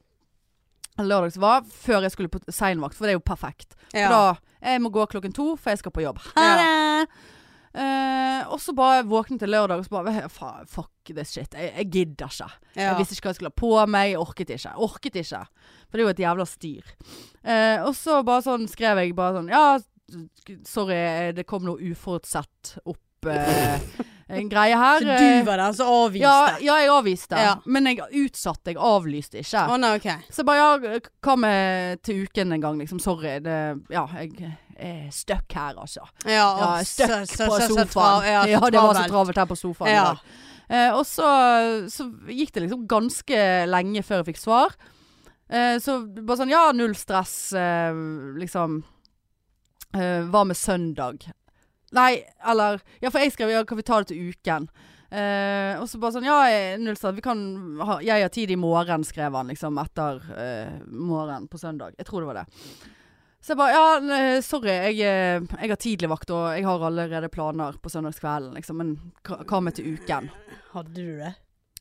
Speaker 1: Lørdag som var, før jeg skulle på seinvakt, for det er jo perfekt.
Speaker 2: Ja.
Speaker 1: For da jeg må gå klokken to, for jeg skal på jobb. Ha
Speaker 2: Ja.
Speaker 1: det! Eh, og så bare våknet jeg lørdag og så bare "Fa- Fuck this shit. Jeg, jeg gidder ikke.
Speaker 2: Ja.
Speaker 1: Jeg visste ikke hva jeg skulle ha på meg. Jeg orket ikke. Jeg orket ikke. For det er jo et jævla styr. Eh, og så bare sånn skrev jeg bare sånn Ja, sorry, eh, det kom noe uforutsett opp eh, en greie her.
Speaker 2: Så
Speaker 1: Eh,
Speaker 2: du var den som avviste?
Speaker 1: ja, ja, jeg avviste.
Speaker 2: Ja.
Speaker 1: Men jeg utsatte, jeg avlyste ikke.
Speaker 2: Å nei, ok.
Speaker 1: Så jeg bare ja, hva med til uken en gang, liksom. Sorry. Det, ja, jeg er stuck her, altså.
Speaker 2: Ja,
Speaker 1: Ja,
Speaker 2: å,
Speaker 1: jeg er
Speaker 2: så-
Speaker 1: stuck
Speaker 2: så-
Speaker 1: på
Speaker 2: så- så
Speaker 1: sofaen.
Speaker 2: trav-
Speaker 1: Ja,
Speaker 2: Ja, så
Speaker 1: det var så
Speaker 2: travelt.
Speaker 1: travelt her på sofaen i
Speaker 2: Ja.
Speaker 1: dag. Eh, og så, så gikk det liksom ganske lenge før jeg fikk svar. Eh, så bare sånn ja, null stress, eh, liksom. Eh, hva med søndag? Nei, eller Ja, for jeg skrev ja, kan vi ta det til uken? Eh, og så bare sånn Ja, eh, null stress. Vi kan ha, jeg har tid i morgen, skrev han liksom etter eh, morgen på søndag. Jeg tror det var det. Så jeg bare Ja, ne, sorry, jeg, eh, jeg har tidligvakt, og jeg har allerede planer på søndagskvelden, liksom. Men hva hva med til uken?
Speaker 2: Hadde du det?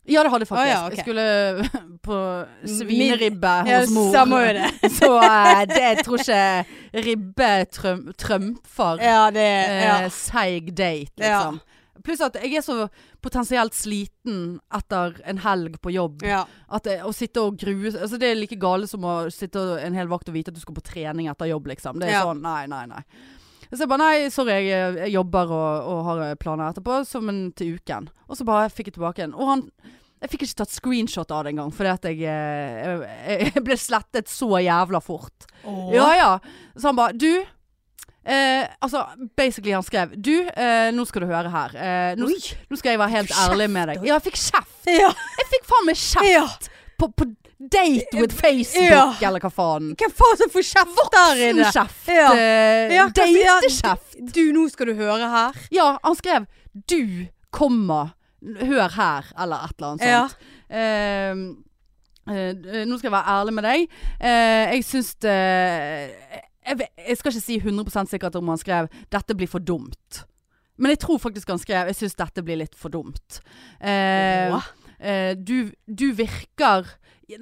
Speaker 1: Ja, det hadde jeg faktisk.
Speaker 2: Å, ja, ok.
Speaker 1: Jeg skulle eh, på svineribbe
Speaker 2: Ja,
Speaker 1: hos mor.
Speaker 2: Samme jo det.
Speaker 1: så eh, det jeg tror ikke ribbe trøm, trømfer
Speaker 2: Ja, det ja.
Speaker 1: eh, seig date, liksom. Pluss at jeg er så potensielt sliten etter en helg på jobb.
Speaker 2: ja.
Speaker 1: At jeg, å sitte og grue altså Det er like gale som å sitte og- en hel vakt og vite at du skal på trening etter jobb, liksom. Det er
Speaker 2: Ja.
Speaker 1: sånn nei, nei, nei. Så jeg bare nei, sorry, jeg, jeg jobber og, og har eh, planer etterpå, så, men til uken. Og så bare fikk jeg tilbake en. Og han Jeg fikk ikke tatt screenshot av det engang, fordi at jeg, eh, jeg, jeg ble slettet så jævla fort. Ja, ja. Så han bare Du eh, Altså, basically han skrev Du, eh, nå skal du høre her. Eh, nå,
Speaker 2: Oi.
Speaker 1: nå skal jeg være helt
Speaker 2: Fikk du
Speaker 1: ærlig
Speaker 2: kjeft,
Speaker 1: med deg.
Speaker 2: oi.
Speaker 1: Ja, jeg fikk kjeft.
Speaker 2: Ja.
Speaker 1: Jeg fikk faen meg kjeft
Speaker 2: ja.
Speaker 1: på, på date
Speaker 2: Eh,
Speaker 1: with Facebook, eller hva faen.
Speaker 2: Hvem faen som får kjeft der inne?
Speaker 1: Voksenkjeft.
Speaker 2: Ja. altså,
Speaker 1: eh,
Speaker 2: Ja, hva sier han?
Speaker 1: Datekjeft.
Speaker 2: Du, nå skal du høre her.
Speaker 1: Ja, han skrev 'du, komma, hør her', eller et eller annet sånt.
Speaker 2: Ja.
Speaker 1: Eh, eh, nå skal jeg være ærlig med deg. Eh, jeg syns det jeg, vet- jeg skal ikke si 100 sikkert om han skrev 'dette blir for dumt'. Men jeg tror faktisk han skrev 'jeg syns dette blir litt for dumt'. Eh,
Speaker 2: Hva?
Speaker 1: eh, du, du virker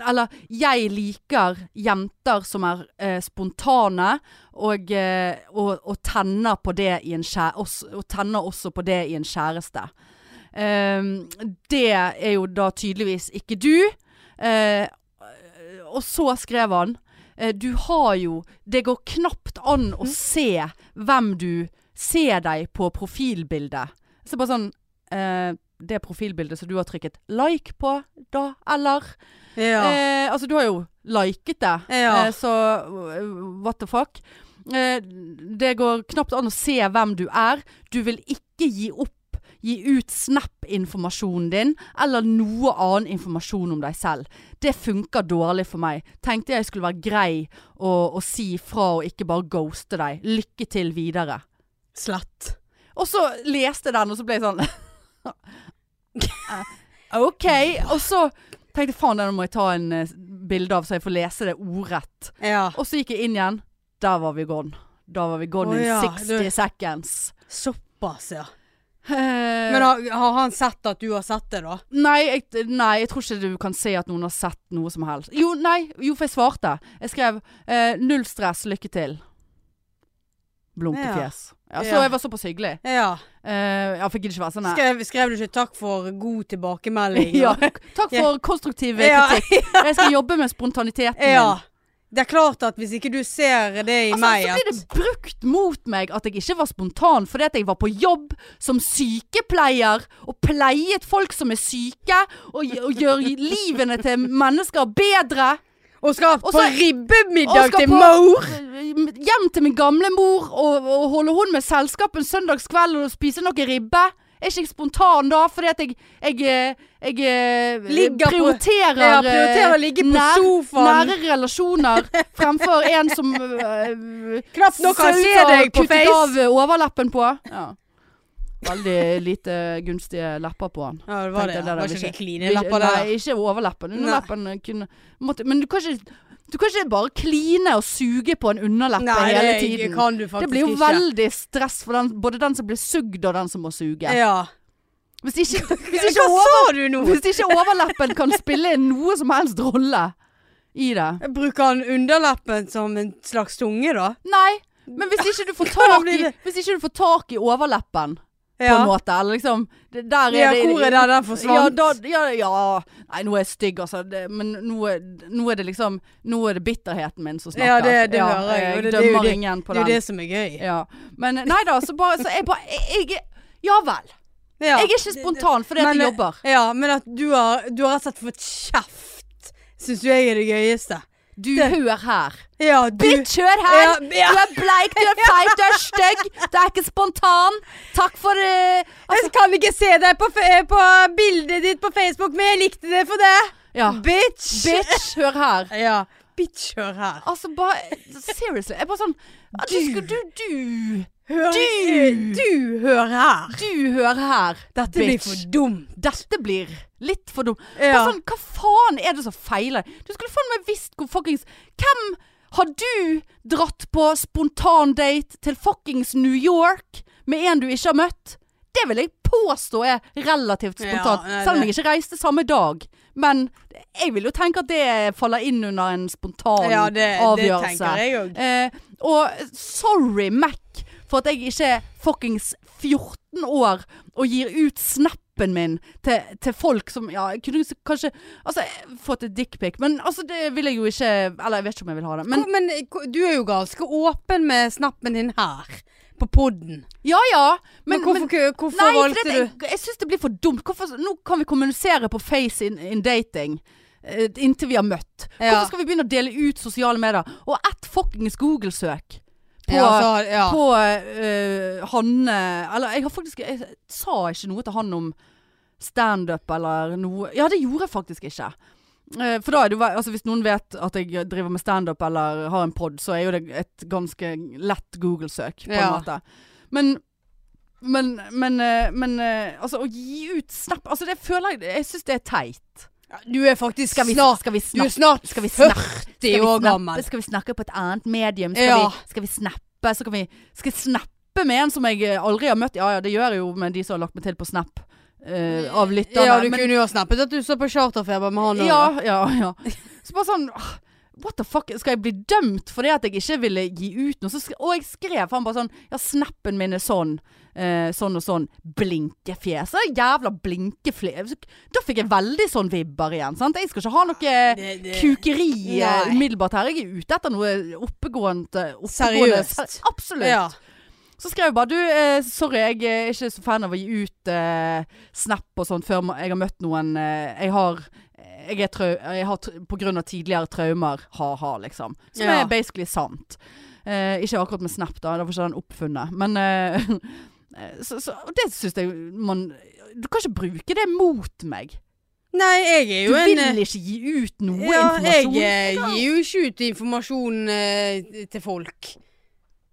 Speaker 1: Eller jeg liker jenter som er eh, spontane, og, eh, og, og tenner på det i en kjæ- oss- Og tenner også på det i en kjæreste. Ehm, det er jo da tydeligvis ikke du. Eh, og så Eh, skrev han eh, du har jo Det går knapt an å se hvem du ser deg på profilbildet. Så bare sånn eh, Det profilbildet som du har trykket like på, da, eller?
Speaker 2: Ja.
Speaker 1: Eh, altså, du har jo liket det,
Speaker 2: Ja.
Speaker 1: eh, så uh, what the fuck. Eh, det går knapt an å se hvem du er. Du vil ikke gi opp. Gi ut Snap-informasjonen din, eller noe annen informasjon om deg selv. Det funker dårlig for meg. Tenkte jeg skulle være grei og, og si fra og ikke bare ghoste deg. Lykke til videre.
Speaker 2: Slett.
Speaker 1: Og så leste jeg den, og så ble jeg sånn eh, OK. Og så tenkte jeg faen, den må jeg ta en eh, bilde av, så jeg får lese det ordrett.
Speaker 2: Ja.
Speaker 1: Og så gikk jeg inn igjen. Der var vi gone. Da var vi gone
Speaker 2: Å ja,
Speaker 1: in 60
Speaker 2: du-
Speaker 1: seconds.
Speaker 2: Såpass, ja.
Speaker 1: Eh,
Speaker 2: Men har, har han sett at du har sett det, da?
Speaker 1: nei, jeg, nei, jeg tror ikke du kan se at noen har sett noe som helst. Jo, nei, jo, for jeg svarte. Jeg skrev eh, 'null stress, lykke til'. Blunkefjes. Ja. så
Speaker 2: Ja.
Speaker 1: jeg var såpass hyggelig.
Speaker 2: Ja.
Speaker 1: Eh, ja, for jeg gidder ikke være sånn. nei.
Speaker 2: Skrev, skrev du ikke 'takk for god tilbakemelding'?
Speaker 1: Ja.
Speaker 2: og-
Speaker 1: Takk for konstruktiv
Speaker 2: Ja.
Speaker 1: kritikk. Jeg skal jobbe med spontaniteten
Speaker 2: ja.
Speaker 1: min.
Speaker 2: Det er klart at hvis ikke du ser det i
Speaker 1: Altså,
Speaker 2: meg
Speaker 1: så
Speaker 2: at-
Speaker 1: blir det brukt mot meg at jeg ikke var spontan fordi at jeg var på jobb som sykepleier og pleiet folk som er syke, og, gj- og gjør livene til mennesker bedre.
Speaker 2: Og skal
Speaker 1: Og
Speaker 2: på
Speaker 1: så- og
Speaker 2: ribbemiddag
Speaker 1: skal
Speaker 2: til
Speaker 1: på-
Speaker 2: mor!
Speaker 1: Hjem til min gamle mor og, og holde hun med selskap en søndagskveld og spise noe ribbe. Er ikke jeg spontan da, fordi at jeg, jeg, eh, jeg eh,
Speaker 2: Ligger på-
Speaker 1: prioriterer,
Speaker 2: Ja, prioriterer å
Speaker 1: eh,
Speaker 2: ligge på sofaen.
Speaker 1: nære relasjoner fremfor en som øh,
Speaker 2: Knapt nok kan se deg på
Speaker 1: kuttet av
Speaker 2: face!
Speaker 1: øh, overleppen på. Ja. Veldig lite gunstige lepper på han.
Speaker 2: Ja, det var
Speaker 1: Tenkte
Speaker 2: det.
Speaker 1: jeg,
Speaker 2: Det var
Speaker 1: vil
Speaker 2: ikke
Speaker 1: ikke-
Speaker 2: kline lapper, det.
Speaker 1: Nei, ikke overleppen. Underleppen kunne måtte, Men du kan ikke du kan ikke bare kline og suge på en underleppe hele
Speaker 2: det
Speaker 1: tiden.
Speaker 2: kan du
Speaker 1: Det
Speaker 2: faktisk
Speaker 1: blir jo
Speaker 2: ikke.
Speaker 1: veldig stress for den, både den som blir sugd og den som må suge.
Speaker 2: Ja.
Speaker 1: Hvis ikke, hvis
Speaker 2: Hva
Speaker 1: ikke, over,
Speaker 2: sa du nå?
Speaker 1: hvis ikke overleppen kan spille noe som helst rolle i det.
Speaker 2: Bruker han underleppen som en slags tunge, da?
Speaker 1: Nei, men hvis ikke du får
Speaker 2: Hvordan
Speaker 1: tak
Speaker 2: blir
Speaker 1: i,
Speaker 2: det?
Speaker 1: hvis ikke du får tak i overleppen, på en
Speaker 2: Ja.
Speaker 1: måte, eller liksom det, Der er
Speaker 2: Ja,
Speaker 1: det
Speaker 2: hvor er det den forsvant?
Speaker 1: Ja, da, ja, ja. Nei, nå er jeg stygg, altså. Det, men nå er, nå er det liksom Nå er det bitterheten min som snakker.
Speaker 2: Ja, det- det hører jeg,
Speaker 1: Jeg
Speaker 2: og det- det er jo
Speaker 1: dømmer
Speaker 2: det-
Speaker 1: ingen på
Speaker 2: Det er jo
Speaker 1: den.
Speaker 2: det som er gøy.
Speaker 1: Ja. Men nei da, så bare så jeg, bare, jeg, jeg Ja vel.
Speaker 2: Ja.
Speaker 1: Jeg er ikke spontan fordi at
Speaker 2: Men,
Speaker 1: jeg
Speaker 2: eh,
Speaker 1: jobber.
Speaker 2: Ja, men at du har, du har rett og slett fått kjeft, syns jeg er det gøyeste.
Speaker 1: Du hør her.
Speaker 2: Ja, du
Speaker 1: Bitch, hør her!
Speaker 2: Ja, ja.
Speaker 1: Du er bleik, du er feit, du er stygg. Du er ikke spontan. Takk for eh,
Speaker 2: Jeg kan ikke se deg på, fe- på bildet ditt på Facebook, men jeg likte det for det.
Speaker 1: Ja.
Speaker 2: Ah, Bitch!
Speaker 1: Bitch, hør her.
Speaker 2: Ja. Bitch, hør her.
Speaker 1: Altså bare Seriously. Jeg er bare sånn ja, Du skal du Du,
Speaker 2: Hør,
Speaker 1: Du!
Speaker 2: du hør her.
Speaker 1: du hører her,
Speaker 2: Dette blir for dumt.
Speaker 1: Dette blir litt for dumt.
Speaker 2: Ja.
Speaker 1: Bare Sånn, hva faen er det som feiler? Du skulle faen meg visst hvor fuckings Hvem har du dratt på spontandate til fuckings New York med en du ikke har møtt? Det vil jeg påstå er relativt
Speaker 2: Ja,
Speaker 1: spontant.
Speaker 2: nei,
Speaker 1: selv om
Speaker 2: det-
Speaker 1: jeg ikke reiste samme dag. Men jeg vil jo tenke at det faller inn under en spontan
Speaker 2: Ja, det, det
Speaker 1: avgjørelse.
Speaker 2: tenker jeg òg.
Speaker 1: Eh, og sorry, Mac, for at jeg ikke er fuckings 14 år og gir ut snappen min til, til folk som Ja, jeg kunne s- kanskje Altså, jeg har fått et dickpic, men altså, det vil jeg jo ikke Eller jeg vet ikke om jeg vil ha det. Men
Speaker 2: Men, men eh, du er jo ganske åpen med snappen din her, på poden.
Speaker 1: ja ja.
Speaker 2: Men,
Speaker 1: Men,
Speaker 2: hvorfor,
Speaker 1: men-
Speaker 2: kø- hvorfor
Speaker 1: Nei, for
Speaker 2: valgte
Speaker 1: det,
Speaker 2: du
Speaker 1: jeg, jeg syns det blir for dumt. Hvorfor, nå kan vi kommunisere på face in, in dating. eh, Inntil vi har møtt.
Speaker 2: Ja.
Speaker 1: Hvorfor skal vi begynne å dele ut sosiale medier? Og ett fuckings Google-søk på
Speaker 2: ja, altså, så, ja.
Speaker 1: på eh, Hanne Eller jeg har faktisk Jeg sa ikke noe til han om standup eller noe Ja, det gjorde jeg faktisk ikke. Eh, for da er det jo ve- Altså hvis noen vet at jeg driver med standup eller har en pod, så er jo det et ganske lett Google-søk, på en
Speaker 2: Ja.
Speaker 1: måte. Men men, men, eh, men eh, altså, å gi ut snap Altså, det føler jeg Jeg syns det er teit.
Speaker 2: Du er faktisk
Speaker 1: Skal vi,
Speaker 2: snart
Speaker 1: skal vi
Speaker 2: Du er
Speaker 1: snappe?
Speaker 2: snart
Speaker 1: Skal vi snappe?
Speaker 2: 40 år gammel.
Speaker 1: Skal vi snakke på et annet medium? Skal,
Speaker 2: Ja.
Speaker 1: vi, skal vi snappe? Så kan vi, skal jeg snappe med en som jeg eh, aldri har møtt? Ja ja, det gjør jeg jo med de som har lagt meg til på Snap. eh, av lytterne.
Speaker 2: Ja, du
Speaker 1: Men-
Speaker 2: kunne jo ha snappet at du så på charterfeber med han òg.
Speaker 1: ja, ja, ja. Så bare sånn ah, What the fuck, skal jeg bli dømt fordi at jeg ikke ville gi ut noe? Så sk og jeg skrev han bare sånn Ja, snappen min er sånn. eh, sånn og sånn. Blinkefjes. Så jævla blinkefjes. Da fikk jeg veldig sånn vibber igjen. Sant? Jeg skal ikke ha noe
Speaker 2: Det- det-
Speaker 1: kukeri eh,
Speaker 2: Nei.
Speaker 1: umiddelbart her. Jeg er ute etter noe oppegående. oppegående
Speaker 2: Seriøst.
Speaker 1: Absolutt.
Speaker 2: Ja.
Speaker 1: Så skrev jeg bare Du, eh, sorry, jeg er ikke så fan av å gi ut eh, snap og sånt før ma- jeg har møtt noen eh, Jeg har eh, jeg er trau jeg har tr- på grunn av tidligere traumer, ha-ha, liksom. Som
Speaker 2: Ja.
Speaker 1: er basically sant. Eh, ikke akkurat med snap, da. Derfor er den oppfunnet. Men eh, så, så, og Det syns jeg man Du kan ikke bruke det mot meg.
Speaker 2: Nei, jeg er
Speaker 1: Du
Speaker 2: jo en eh,
Speaker 1: vil ikke gi ut noe
Speaker 2: ja,
Speaker 1: informasjon.
Speaker 2: Jeg eh, gir jo ikke ut informasjon eh, til folk.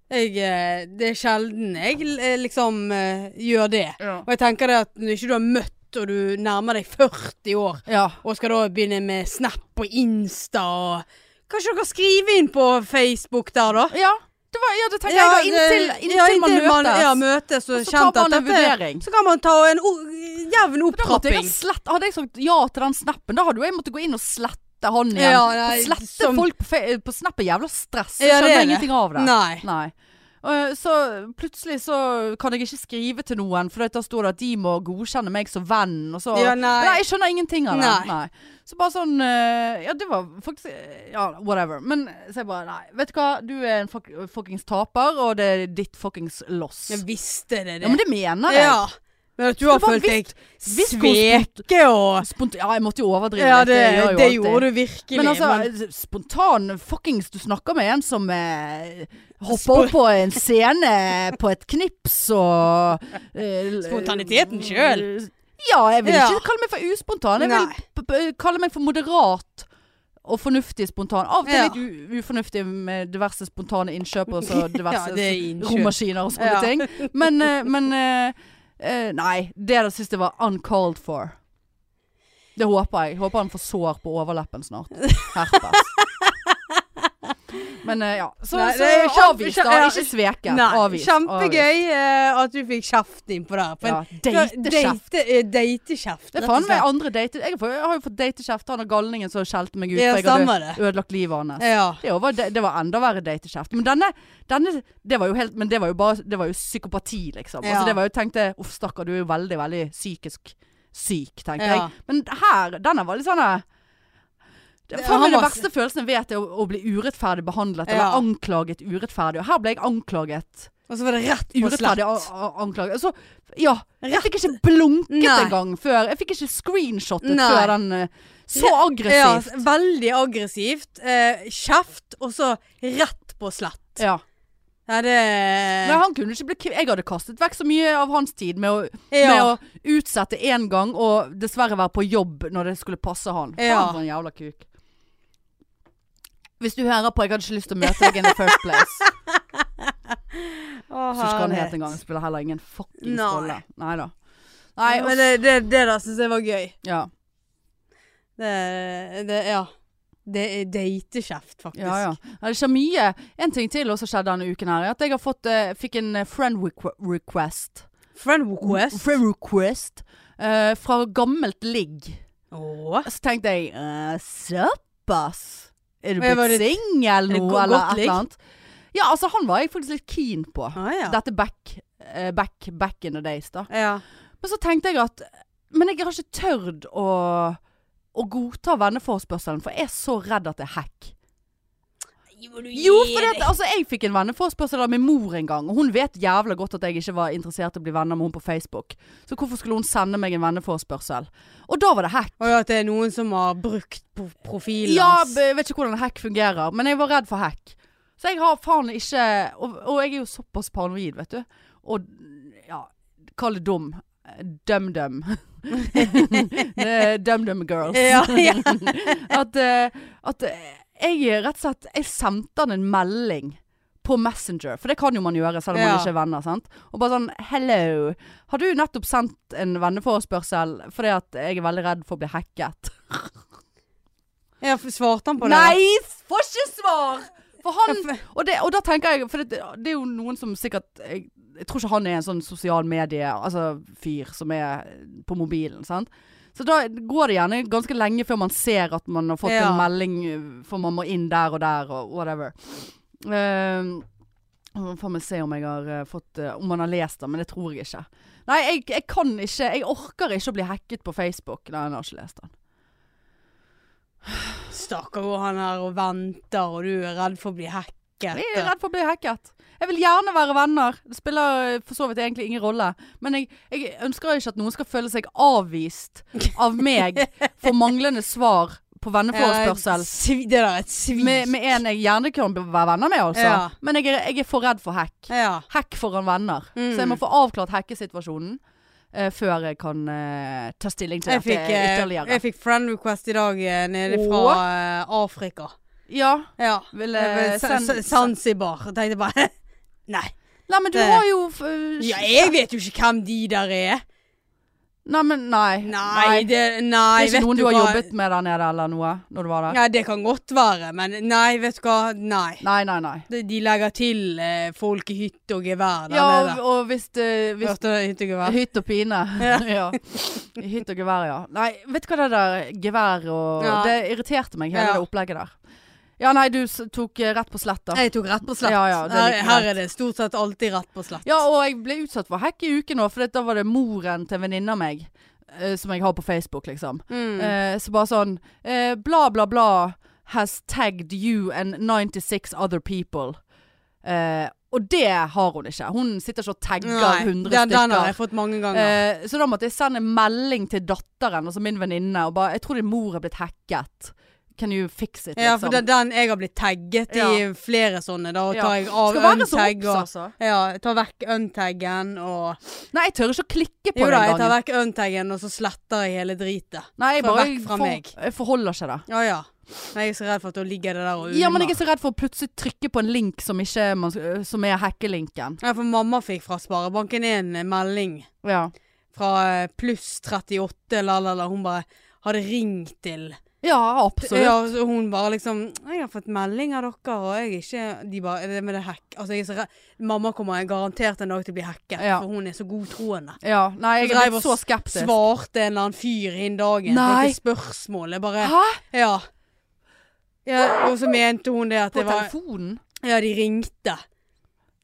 Speaker 2: Jeg, eh, det er sjelden jeg eh, liksom eh, gjør det.
Speaker 1: Ja.
Speaker 2: Og jeg tenker det at når ikke du har møtt og du nærmer deg 40 år,
Speaker 1: ja.
Speaker 2: og skal da begynne med Snap og Insta og Kanskje dere skriver inn på Facebook der, da?
Speaker 1: Ja, det var, ja, det tenker jeg da. Inntil,
Speaker 2: det-
Speaker 1: inntil,
Speaker 2: ja,
Speaker 1: man
Speaker 2: inntil
Speaker 1: møtes.
Speaker 2: ja, møtes og
Speaker 1: Og så tar man
Speaker 2: kjent at
Speaker 1: en
Speaker 2: dette-
Speaker 1: vurdering.
Speaker 2: Så kan man ta en o jevn
Speaker 1: Da måtte jeg ha
Speaker 2: opptrapping.
Speaker 1: slett, hadde jeg sagt ja til den snappen, da hadde jo jeg måttet gå inn og slette han igjen.
Speaker 2: Ja, nei,
Speaker 1: Å slette
Speaker 2: som-
Speaker 1: folk på, fe- på snap er jævla stress. Jeg
Speaker 2: Ja, det
Speaker 1: skjønner
Speaker 2: er det.
Speaker 1: ingenting av det.
Speaker 2: Nei.
Speaker 1: Nei. Eh, Så plutselig så kan jeg ikke skrive til noen, for da står det at de må godkjenne meg som venn. Og så,
Speaker 2: Ja, nei.
Speaker 1: jeg skjønner ingenting av det.
Speaker 2: Nei.
Speaker 1: Så bare sånn eh, Ja, det var faktisk eh, Ja, whatever. Men så jeg bare Nei, vet du hva, du er en fuck, fuckings taper, og det er ditt fuckings loss.
Speaker 2: Jeg visste det, det.
Speaker 1: Ja, men det mener jeg.
Speaker 2: Ja. Men at du har
Speaker 1: bare
Speaker 2: følt deg
Speaker 1: visst hvor spont-
Speaker 2: sveke og
Speaker 1: Spont ja, jeg måtte jo overdrive
Speaker 2: Ja,
Speaker 1: litt.
Speaker 2: det,
Speaker 1: gjør jeg jo
Speaker 2: det
Speaker 1: alltid.
Speaker 2: gjorde du virkelig.
Speaker 1: Men altså,
Speaker 2: men-
Speaker 1: spontan fuckings Du snakker med en som eh,
Speaker 2: Spo-
Speaker 1: hopper opp på en scene på et knips og eh,
Speaker 2: Spontaniteten selv.
Speaker 1: Ja, jeg vil
Speaker 2: Ja.
Speaker 1: ikke kalle meg for uspontan. Jeg
Speaker 2: Nei.
Speaker 1: vil p p kalle meg for moderat. Og fornuftig spontan. Av og til
Speaker 2: Ja.
Speaker 1: litt u ufornuftig med diverse spontane innkjøp og så diverse
Speaker 2: Ja, det er innkjøp.
Speaker 1: romaskiner og sånne
Speaker 2: Ja.
Speaker 1: ting. Men, eh, men eh, eh, Nei. Det der syns jeg var uncalled for. Det håper jeg. Håper han får sår på overleppen snart. Herpes. Men eh, ja. Så,
Speaker 2: Nei,
Speaker 1: så
Speaker 2: det er kjempe-
Speaker 1: avvist, da.
Speaker 2: ja.
Speaker 1: Ikke sveke.
Speaker 2: Nei,
Speaker 1: Avvist. avvist.
Speaker 2: kjempegøy eh, at du fikk kjeft innpå der.
Speaker 1: Ja, datekjeft.
Speaker 2: Datekjeft. eh, Datekjeft.
Speaker 1: Det er
Speaker 2: rett
Speaker 1: faen
Speaker 2: og
Speaker 1: meg
Speaker 2: slett.
Speaker 1: andre date... Jeg, får, jeg har jo fått datekjeft. Han er galningen som skjelte meg ut.
Speaker 2: Ja,
Speaker 1: for jeg hadde
Speaker 2: stemmer det.
Speaker 1: ødelagt livet hans.
Speaker 2: Ja.
Speaker 1: Det var, det, det var enda verre datekjeft. Men denne, denne det var jo helt, Men det var jo bare Det var jo psykopati, liksom.
Speaker 2: Ja.
Speaker 1: Altså, det var jo tenkte Uff, stakkar, du er jo veldig, veldig psykisk syk, tenkte
Speaker 2: Ja.
Speaker 1: jeg. Men her, denne var litt sånn eh, det,
Speaker 2: Det-
Speaker 1: faen,
Speaker 2: han
Speaker 1: meg, Den
Speaker 2: var-
Speaker 1: verste følelsen jeg vet, er å, å bli urettferdig behandlet.
Speaker 2: Ja.
Speaker 1: Eller anklaget urettferdig. Og her ble jeg anklaget.
Speaker 2: Og så var det rett på
Speaker 1: Urettferdig
Speaker 2: slett.
Speaker 1: a- a- anklaget. Så, ja. Jeg fikk ikke blunket
Speaker 2: Nei.
Speaker 1: engang før. Jeg fikk ikke screenshottet
Speaker 2: Nei.
Speaker 1: før den eh, Så
Speaker 2: Ja,
Speaker 1: aggressivt.
Speaker 2: veldig aggressivt. Eh, kjeft, og så rett på slett.
Speaker 1: Ja.
Speaker 2: Ja, det Eh.
Speaker 1: Nei, han kunne ikke bli kvitt Jeg hadde kastet vekk så mye av hans tid med å, med
Speaker 2: ja.
Speaker 1: å utsette én gang og dessverre være på jobb når det skulle passe han.
Speaker 2: Ja.
Speaker 1: Faen for en jævla kuk. Hvis du hører på, jeg hadde ikke lyst til å møte deg in the first place.
Speaker 2: Å,
Speaker 1: Så skal han
Speaker 2: herlighet.
Speaker 1: hete engang. Det spiller heller ingen fuckings
Speaker 2: Nei.
Speaker 1: rolle. Nei da. Nei,
Speaker 2: Men
Speaker 1: uff.
Speaker 2: det, det, det der syns jeg var gøy.
Speaker 1: Ja.
Speaker 2: Det, det ja. Det er datekjeft, faktisk.
Speaker 1: Ja, ja. Nei, Det skjer mye. En ting til også skjedde denne uken her. er At jeg har fått, eh, fikk en eh, friend requ- request.
Speaker 2: Friend request.
Speaker 1: Friend request eh, fra gammelt ligg.
Speaker 2: Åh.
Speaker 1: Så tenkte jeg eh, Såpass? Er du
Speaker 2: Men jeg var
Speaker 1: blitt
Speaker 2: litt-
Speaker 1: singel
Speaker 2: det
Speaker 1: nå,
Speaker 2: go-
Speaker 1: eller
Speaker 2: godt
Speaker 1: et
Speaker 2: ligg?
Speaker 1: eller annet? Ja, altså, han var jeg faktisk litt keen på.
Speaker 2: Ah, ja.
Speaker 1: Dette back, eh, back, back in the days, da.
Speaker 2: Ja.
Speaker 1: Men så tenkte jeg at Men jeg har ikke tørt å, å godta venneforespørselen, for jeg er så redd at det er hack. Jo, for det, altså, jeg fikk en venneforespørsel av min mor en gang, og hun vet jævla godt at jeg ikke var interessert i å bli venner med hun på Facebook. Så hvorfor skulle hun sende meg en venneforespørsel? Og da var det hack.
Speaker 2: Og ja, at det er noen som har brukt pro- profilen
Speaker 1: Ja,
Speaker 2: hans.
Speaker 1: b- jeg vet ikke hvordan hack fungerer, men jeg var redd for hack. Så jeg har faen ikke Og, og jeg er jo såpass paranoid, vet du. Og ja, kall det dum. Dum-dum. Dum-dum girls.
Speaker 2: Ja, ja.
Speaker 1: At, eh, at eh, jeg rett og slett Jeg sendte han en melding på Messenger, for det kan jo man gjøre selv om
Speaker 2: Ja.
Speaker 1: man ikke er venner. sant? Og bare sånn 'Hello, har du nettopp sendt en venneforespørsel fordi at jeg er veldig redd for å bli hacket?'
Speaker 2: Ja, f- svarte han på det?
Speaker 1: Nei, får ikke svar! For han
Speaker 2: Ja, for-
Speaker 1: og, det, og da tenker jeg For det, det er jo noen som sikkert jeg, jeg tror ikke han er en sånn sosial medie Altså fyr som er på mobilen, sant? Så da går det gjerne ganske lenge før man ser at man har fått
Speaker 2: Ja.
Speaker 1: en melding, eh, for man må inn der og der og whatever. Ehm, nå får vi se om jeg har eh, fått eh, Om man har lest det, men det tror jeg ikke. Nei, jeg, jeg kan ikke Jeg orker ikke å bli hacket på Facebook. Nei, jeg har ikke lest den.
Speaker 2: Stakkar, går han her og venter, og du er redd for å bli hacket.
Speaker 1: Jeg er redd for å bli hacket. Jeg vil gjerne være venner. Det spiller eh, for så vidt egentlig ingen rolle. Men jeg, jeg ønsker ikke at noen skal føle seg avvist av meg for manglende svar på
Speaker 2: Ja,
Speaker 1: venneforespørsel.
Speaker 2: et Eh, svi- Det der er et svik.
Speaker 1: Med, med en jeg gjerne kan b- være venner med, altså.
Speaker 2: Ja.
Speaker 1: Men jeg er, jeg er for redd for hack.
Speaker 2: Ja.
Speaker 1: Hack foran venner.
Speaker 2: Mm.
Speaker 1: Så jeg må få avklart hackesituasjonen eh, før jeg kan eh, ta stilling til
Speaker 2: Jeg
Speaker 1: dette
Speaker 2: fikk, eh,
Speaker 1: ytterligere.
Speaker 2: jeg fikk friend request i dag eh, nede
Speaker 1: Åh.
Speaker 2: fra eh, Afrika.
Speaker 1: Ja,
Speaker 2: Ja.
Speaker 1: vil
Speaker 2: Eh,
Speaker 1: jeg
Speaker 2: Sa- Sa- Zanzibar. Og tenkte bare Nei.
Speaker 1: Nei, men du
Speaker 2: det-
Speaker 1: har jo f- eh,
Speaker 2: Ja, jeg vet jo ikke hvem de der er.
Speaker 1: Nei, men nei.
Speaker 2: Nei, det,
Speaker 1: Det
Speaker 2: nei
Speaker 1: er ikke
Speaker 2: vet
Speaker 1: noen du
Speaker 2: hva?
Speaker 1: har jobbet med der nede eller noe? Når du var der?
Speaker 2: Nei, det kan godt være, men nei, vet du hva. Nei.
Speaker 1: Nei, nei, nei.
Speaker 2: De, de legger til eh, folk i hytte og gevær der
Speaker 1: Ja, og,
Speaker 2: nede.
Speaker 1: og hvis, eh, hvis
Speaker 2: Hørte du det? hytte og gevær?
Speaker 1: Hytt og pine.
Speaker 2: Ja.
Speaker 1: ja. I Hytt og gevær, ja. Nei, vet du hva det der gevær og
Speaker 2: Ja.
Speaker 1: Det irriterte meg, hele
Speaker 2: Ja.
Speaker 1: det opplegget der. Ja, nei, du s- tok eh, rett på slett, da.
Speaker 2: Jeg tok rett på slett.
Speaker 1: Ja, ja, det er
Speaker 2: her,
Speaker 1: like
Speaker 2: her
Speaker 1: greit.
Speaker 2: er det stort sett alltid rett på slett.
Speaker 1: Ja, og jeg ble utsatt for hack i uken òg, for da var det moren til en venninne av meg, eh, som jeg har på Facebook, liksom.
Speaker 2: Mm.
Speaker 1: Eh, så bare sånn eh, Bla, bla, bla has tagged you and 96 other people. Eh, og det har hun ikke. Hun sitter ikke og tagger
Speaker 2: Nei,
Speaker 1: 100
Speaker 2: den,
Speaker 1: stykker.
Speaker 2: den har jeg fått mange ganger.
Speaker 1: Eh, så da måtte jeg sende en melding til datteren, altså min venninne, og bare 'Jeg tror din mor er blitt hacket. Can you fix it?'
Speaker 2: ja,
Speaker 1: liksom.
Speaker 2: for den, den jeg har blitt tagget i
Speaker 1: Ja.
Speaker 2: flere sånne, da, og
Speaker 1: Ja.
Speaker 2: tar jeg av
Speaker 1: Skal være så
Speaker 2: untag
Speaker 1: obs,
Speaker 2: og
Speaker 1: altså.
Speaker 2: ja, jeg tar vekk untaggen og
Speaker 1: Nei, jeg tør ikke å klikke på
Speaker 2: Jo
Speaker 1: det
Speaker 2: da, jeg tar
Speaker 1: engang.
Speaker 2: vekk untaggen, og så sletter jeg hele dritet.
Speaker 1: Nei, jeg
Speaker 2: får
Speaker 1: bare
Speaker 2: vekk fra
Speaker 1: for-
Speaker 2: meg.
Speaker 1: Jeg forholder ikke det.
Speaker 2: Ja ja. Men jeg er så redd for at da ligger det der og ulmer.
Speaker 1: Ja, men jeg er så redd for å plutselig trykke på en link som, ikke, man- øh, som er hackelinken.
Speaker 2: Ja, for mamma fikk fra Sparebanken en eh, melding
Speaker 1: Ja.
Speaker 2: fra eh, pluss 38, la la la. Hun bare hadde ringt til
Speaker 1: ja, absolutt.
Speaker 2: Ja, så hun bare liksom 'Jeg har fått melding av dere, og jeg er ikke De bare 'Er det med det hack...' Altså, jeg er så redd. Mamma kommer garantert en dag til å bli hacket,
Speaker 1: Ja.
Speaker 2: for hun er så godtroende.
Speaker 1: Ja, Nei, jeg er
Speaker 2: Dreiv
Speaker 1: blitt
Speaker 2: og
Speaker 1: så skeptisk.
Speaker 2: Svarte en eller annen fyr inn dagen
Speaker 1: Nei.
Speaker 2: på et spørsmål. Jeg bare
Speaker 1: Hæ?
Speaker 2: Ja. ja. Og så mente hun det at
Speaker 1: På
Speaker 2: det var
Speaker 1: telefonen?
Speaker 2: Ja, de ringte.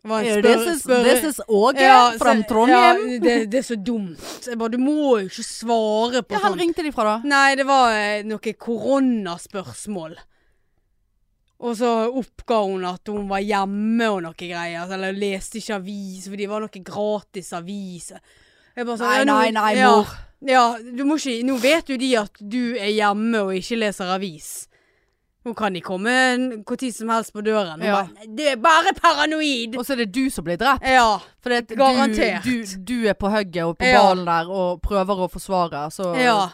Speaker 2: Det var en
Speaker 1: This
Speaker 2: spør...
Speaker 1: is,
Speaker 2: spør-
Speaker 1: this is Åge
Speaker 2: Ja, så-
Speaker 1: fra Trondheim.
Speaker 2: Ja, det, det er så dumt. Jeg bare Du må jo ikke svare på
Speaker 1: Ja, han
Speaker 2: sånt.
Speaker 1: ringte de fra da.
Speaker 2: Nei, det var eh, noe koronaspørsmål. Og så oppga hun at hun var hjemme og noe greier. Eller leste ikke avis, for de var noe gratis avis. Jeg bare sånn,
Speaker 1: Nei,
Speaker 2: ja, nå-
Speaker 1: nei, nei,
Speaker 2: ja,
Speaker 1: mor.
Speaker 2: Ja, du må ikke Nå vet jo de at du er hjemme og ikke leser avis. Nå kan de komme når som helst på døren. Hun
Speaker 1: Ja.
Speaker 2: bare, «Nei, det er bare paranoid!
Speaker 1: Og så er det du som blir drept.
Speaker 2: Ja.
Speaker 1: For det, at
Speaker 2: Garantert.
Speaker 1: Du, du, du er på hugget og på
Speaker 2: Ja.
Speaker 1: ballen der og prøver å forsvare, så
Speaker 2: ja.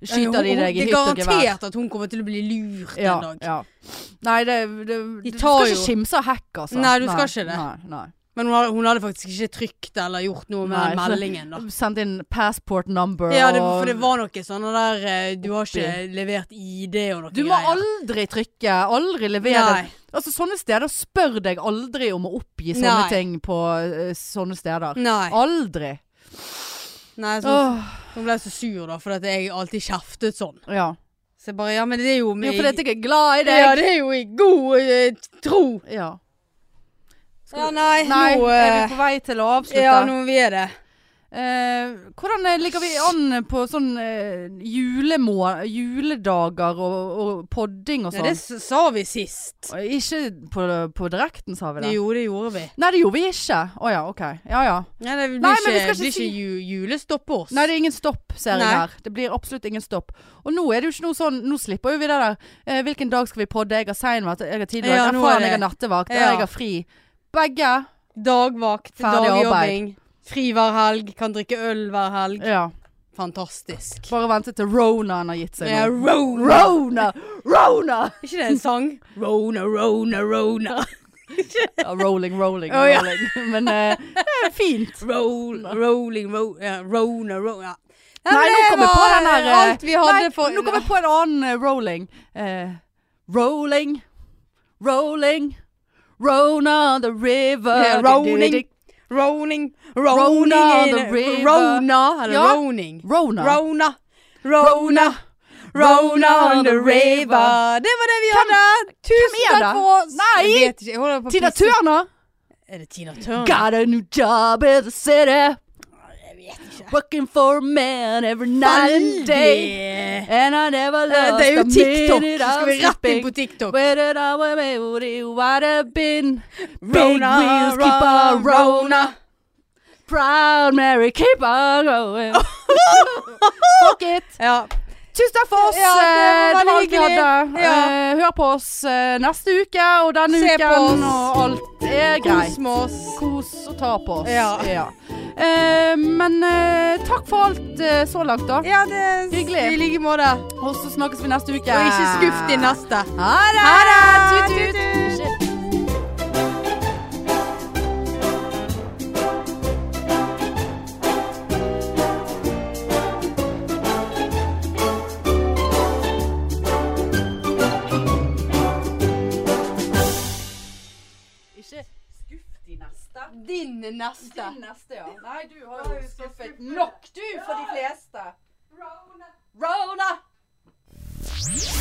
Speaker 1: skyter de
Speaker 2: Hun-
Speaker 1: deg i
Speaker 2: Det
Speaker 1: hytt
Speaker 2: er
Speaker 1: og gevær.
Speaker 2: garantert at hun kommer til å bli lurt
Speaker 1: Ja,
Speaker 2: en dag.
Speaker 1: ja. Nei, det, det,
Speaker 2: De
Speaker 1: du
Speaker 2: tar
Speaker 1: skal ikke
Speaker 2: jo-
Speaker 1: skimse av hack, altså.
Speaker 2: Nei, du skal ikke det.
Speaker 1: Nei, nei.
Speaker 2: Men hun hadde, hun hadde faktisk ikke trykt eller gjort noe med
Speaker 1: Nei,
Speaker 2: den
Speaker 1: for-
Speaker 2: meldingen. da.
Speaker 1: Sendt inn passport number
Speaker 2: Ja, det,
Speaker 1: og
Speaker 2: for det var noe sånn der eh, Du har ikke levert ID og noe
Speaker 1: Du må aldri trykke, aldri levere.
Speaker 2: Nei.
Speaker 1: Altså, sånne steder spør deg aldri om å oppgi sånne
Speaker 2: Nei.
Speaker 1: ting på eh, sånne steder.
Speaker 2: Nei. Altså,
Speaker 1: Aldri.
Speaker 2: Nei så,
Speaker 1: Åh,
Speaker 2: Hun ble så sur, da, fordi at jeg alltid kjeftet sånn.
Speaker 1: ja.
Speaker 2: Så jeg bare Ja, men det er jo med
Speaker 1: Jo, fordi at jeg er glad i
Speaker 2: Ja,
Speaker 1: deg.
Speaker 2: det er jo i god eh, tro.
Speaker 1: Ja. Skal
Speaker 2: Ja,
Speaker 1: du-
Speaker 2: nei,
Speaker 1: Nei,
Speaker 2: nå
Speaker 1: er vi
Speaker 2: eh,
Speaker 1: på vei til å avslutte?
Speaker 2: Ja, nå vi er det.
Speaker 1: Eh, hvordan eh, ligger vi an på sånn eh, julemå, juledager og, og podding og
Speaker 2: Nei,
Speaker 1: sånn?
Speaker 2: det s- sa vi sist.
Speaker 1: Ikke på, på direkten, sa vi det?
Speaker 2: Jo, det gjorde vi.
Speaker 1: Nei, det gjorde vi ikke. Å ja, OK. Ja ja.
Speaker 2: Nei, det blir
Speaker 1: Nei,
Speaker 2: ikke,
Speaker 1: men vi skal ikke
Speaker 2: blir
Speaker 1: si-
Speaker 2: ikke ju, julestopp på oss.
Speaker 1: Nei, det er ingen stopp, ser jeg
Speaker 2: Nei.
Speaker 1: her. Det blir absolutt ingen stopp. Og nå er det jo ikke noe sånn Nå slipper jo vi det der. Eh, hvilken dag skal vi podde? Jeg har seinvakt, jeg har tidligvakt,
Speaker 2: Ja,
Speaker 1: ja,
Speaker 2: nå er
Speaker 1: faen,
Speaker 2: det-
Speaker 1: jeg har nattevakt,
Speaker 2: Ja.
Speaker 1: jeg har fri. Begge.
Speaker 2: Dagvakt,
Speaker 1: Ferdig
Speaker 2: dagjobbing. Fri hver helg, kan drikke øl hver helg.
Speaker 1: Ja.
Speaker 2: Fantastisk.
Speaker 1: Bare vente til ronaen har gitt seg
Speaker 2: Ja,
Speaker 1: nå.
Speaker 2: Rona.
Speaker 1: Rona! Rona!
Speaker 2: Er ikke det en sang? Rona, Rona, Rona.
Speaker 1: Ja, rolling, rolling,
Speaker 2: Å, ja.
Speaker 1: rolling. Men eh, det er fint.
Speaker 2: Roll, rolling, ro, ja, Rona, Rona. Ja.
Speaker 1: Nei,
Speaker 2: men
Speaker 1: nå
Speaker 2: det
Speaker 1: kom jeg
Speaker 2: var
Speaker 1: på den her, eh,
Speaker 2: Alt vi hadde
Speaker 1: Nei,
Speaker 2: for
Speaker 1: nå kom jeg på en annen eh, rolling. Eh, rolling, rolling, Rona on the river.
Speaker 2: Ja, rolling. Roning, roning
Speaker 1: Rona
Speaker 2: in-
Speaker 1: the river.
Speaker 2: Rona, eller
Speaker 1: Ja.
Speaker 2: roning.
Speaker 1: Rona.
Speaker 2: Rona. Rona, Rona on the river. Det var det vi hadde. Tusen
Speaker 1: hvem er
Speaker 2: takk
Speaker 1: det?
Speaker 2: for oss.
Speaker 1: Nei!
Speaker 2: Jeg vet ikke. Jeg holder på å
Speaker 1: Tina
Speaker 2: pisse.
Speaker 1: Turner!
Speaker 2: Er det Tina Turner?
Speaker 1: Got a new job in the city.
Speaker 2: Jeg vet ikke.
Speaker 1: Working for a man every night and day.
Speaker 2: Veldig.
Speaker 1: And I never
Speaker 2: Eh,
Speaker 1: lost
Speaker 2: Det er jo
Speaker 1: a
Speaker 2: TikTok.
Speaker 1: minute
Speaker 2: Så skal vi
Speaker 1: of
Speaker 2: rett inn
Speaker 1: sleeping.
Speaker 2: på TikTok.
Speaker 1: Where did I, where, where would it would have been? Big
Speaker 2: Rona,
Speaker 1: wheels keep on
Speaker 2: Rona,
Speaker 1: rolling. Proud Mary keep on going. Fuck it.
Speaker 2: Ja.
Speaker 1: Tusen takk for oss.
Speaker 2: Ja, det var
Speaker 1: Eh, det var alt vi
Speaker 2: veldig hyggelig.
Speaker 1: hadde.
Speaker 2: Ja.
Speaker 1: Eh, Hør på oss eh, neste uke og denne
Speaker 2: Se på
Speaker 1: uken,
Speaker 2: oss.
Speaker 1: og alt er
Speaker 2: Kos
Speaker 1: greit.
Speaker 2: med oss.
Speaker 1: Kos og ta på oss.
Speaker 2: Ja.
Speaker 1: Eh, men eh, takk for alt eh, så langt, da.
Speaker 2: Ja, det er
Speaker 1: Hyggelig.
Speaker 2: I like måte.
Speaker 1: Og så snakkes vi neste uke.
Speaker 2: Og ikke skuff de neste.
Speaker 1: Ha det!
Speaker 2: Ha det!
Speaker 1: Tut, tut.
Speaker 2: Tut, tut.
Speaker 1: Ikke skuff de neste.
Speaker 2: Din neste.
Speaker 1: Din neste, ja. Nei, du har jo skuffet nok, du, for de fleste. Rona. Rona.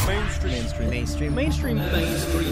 Speaker 3: mainstream mainstream mainstream mainstream mainstream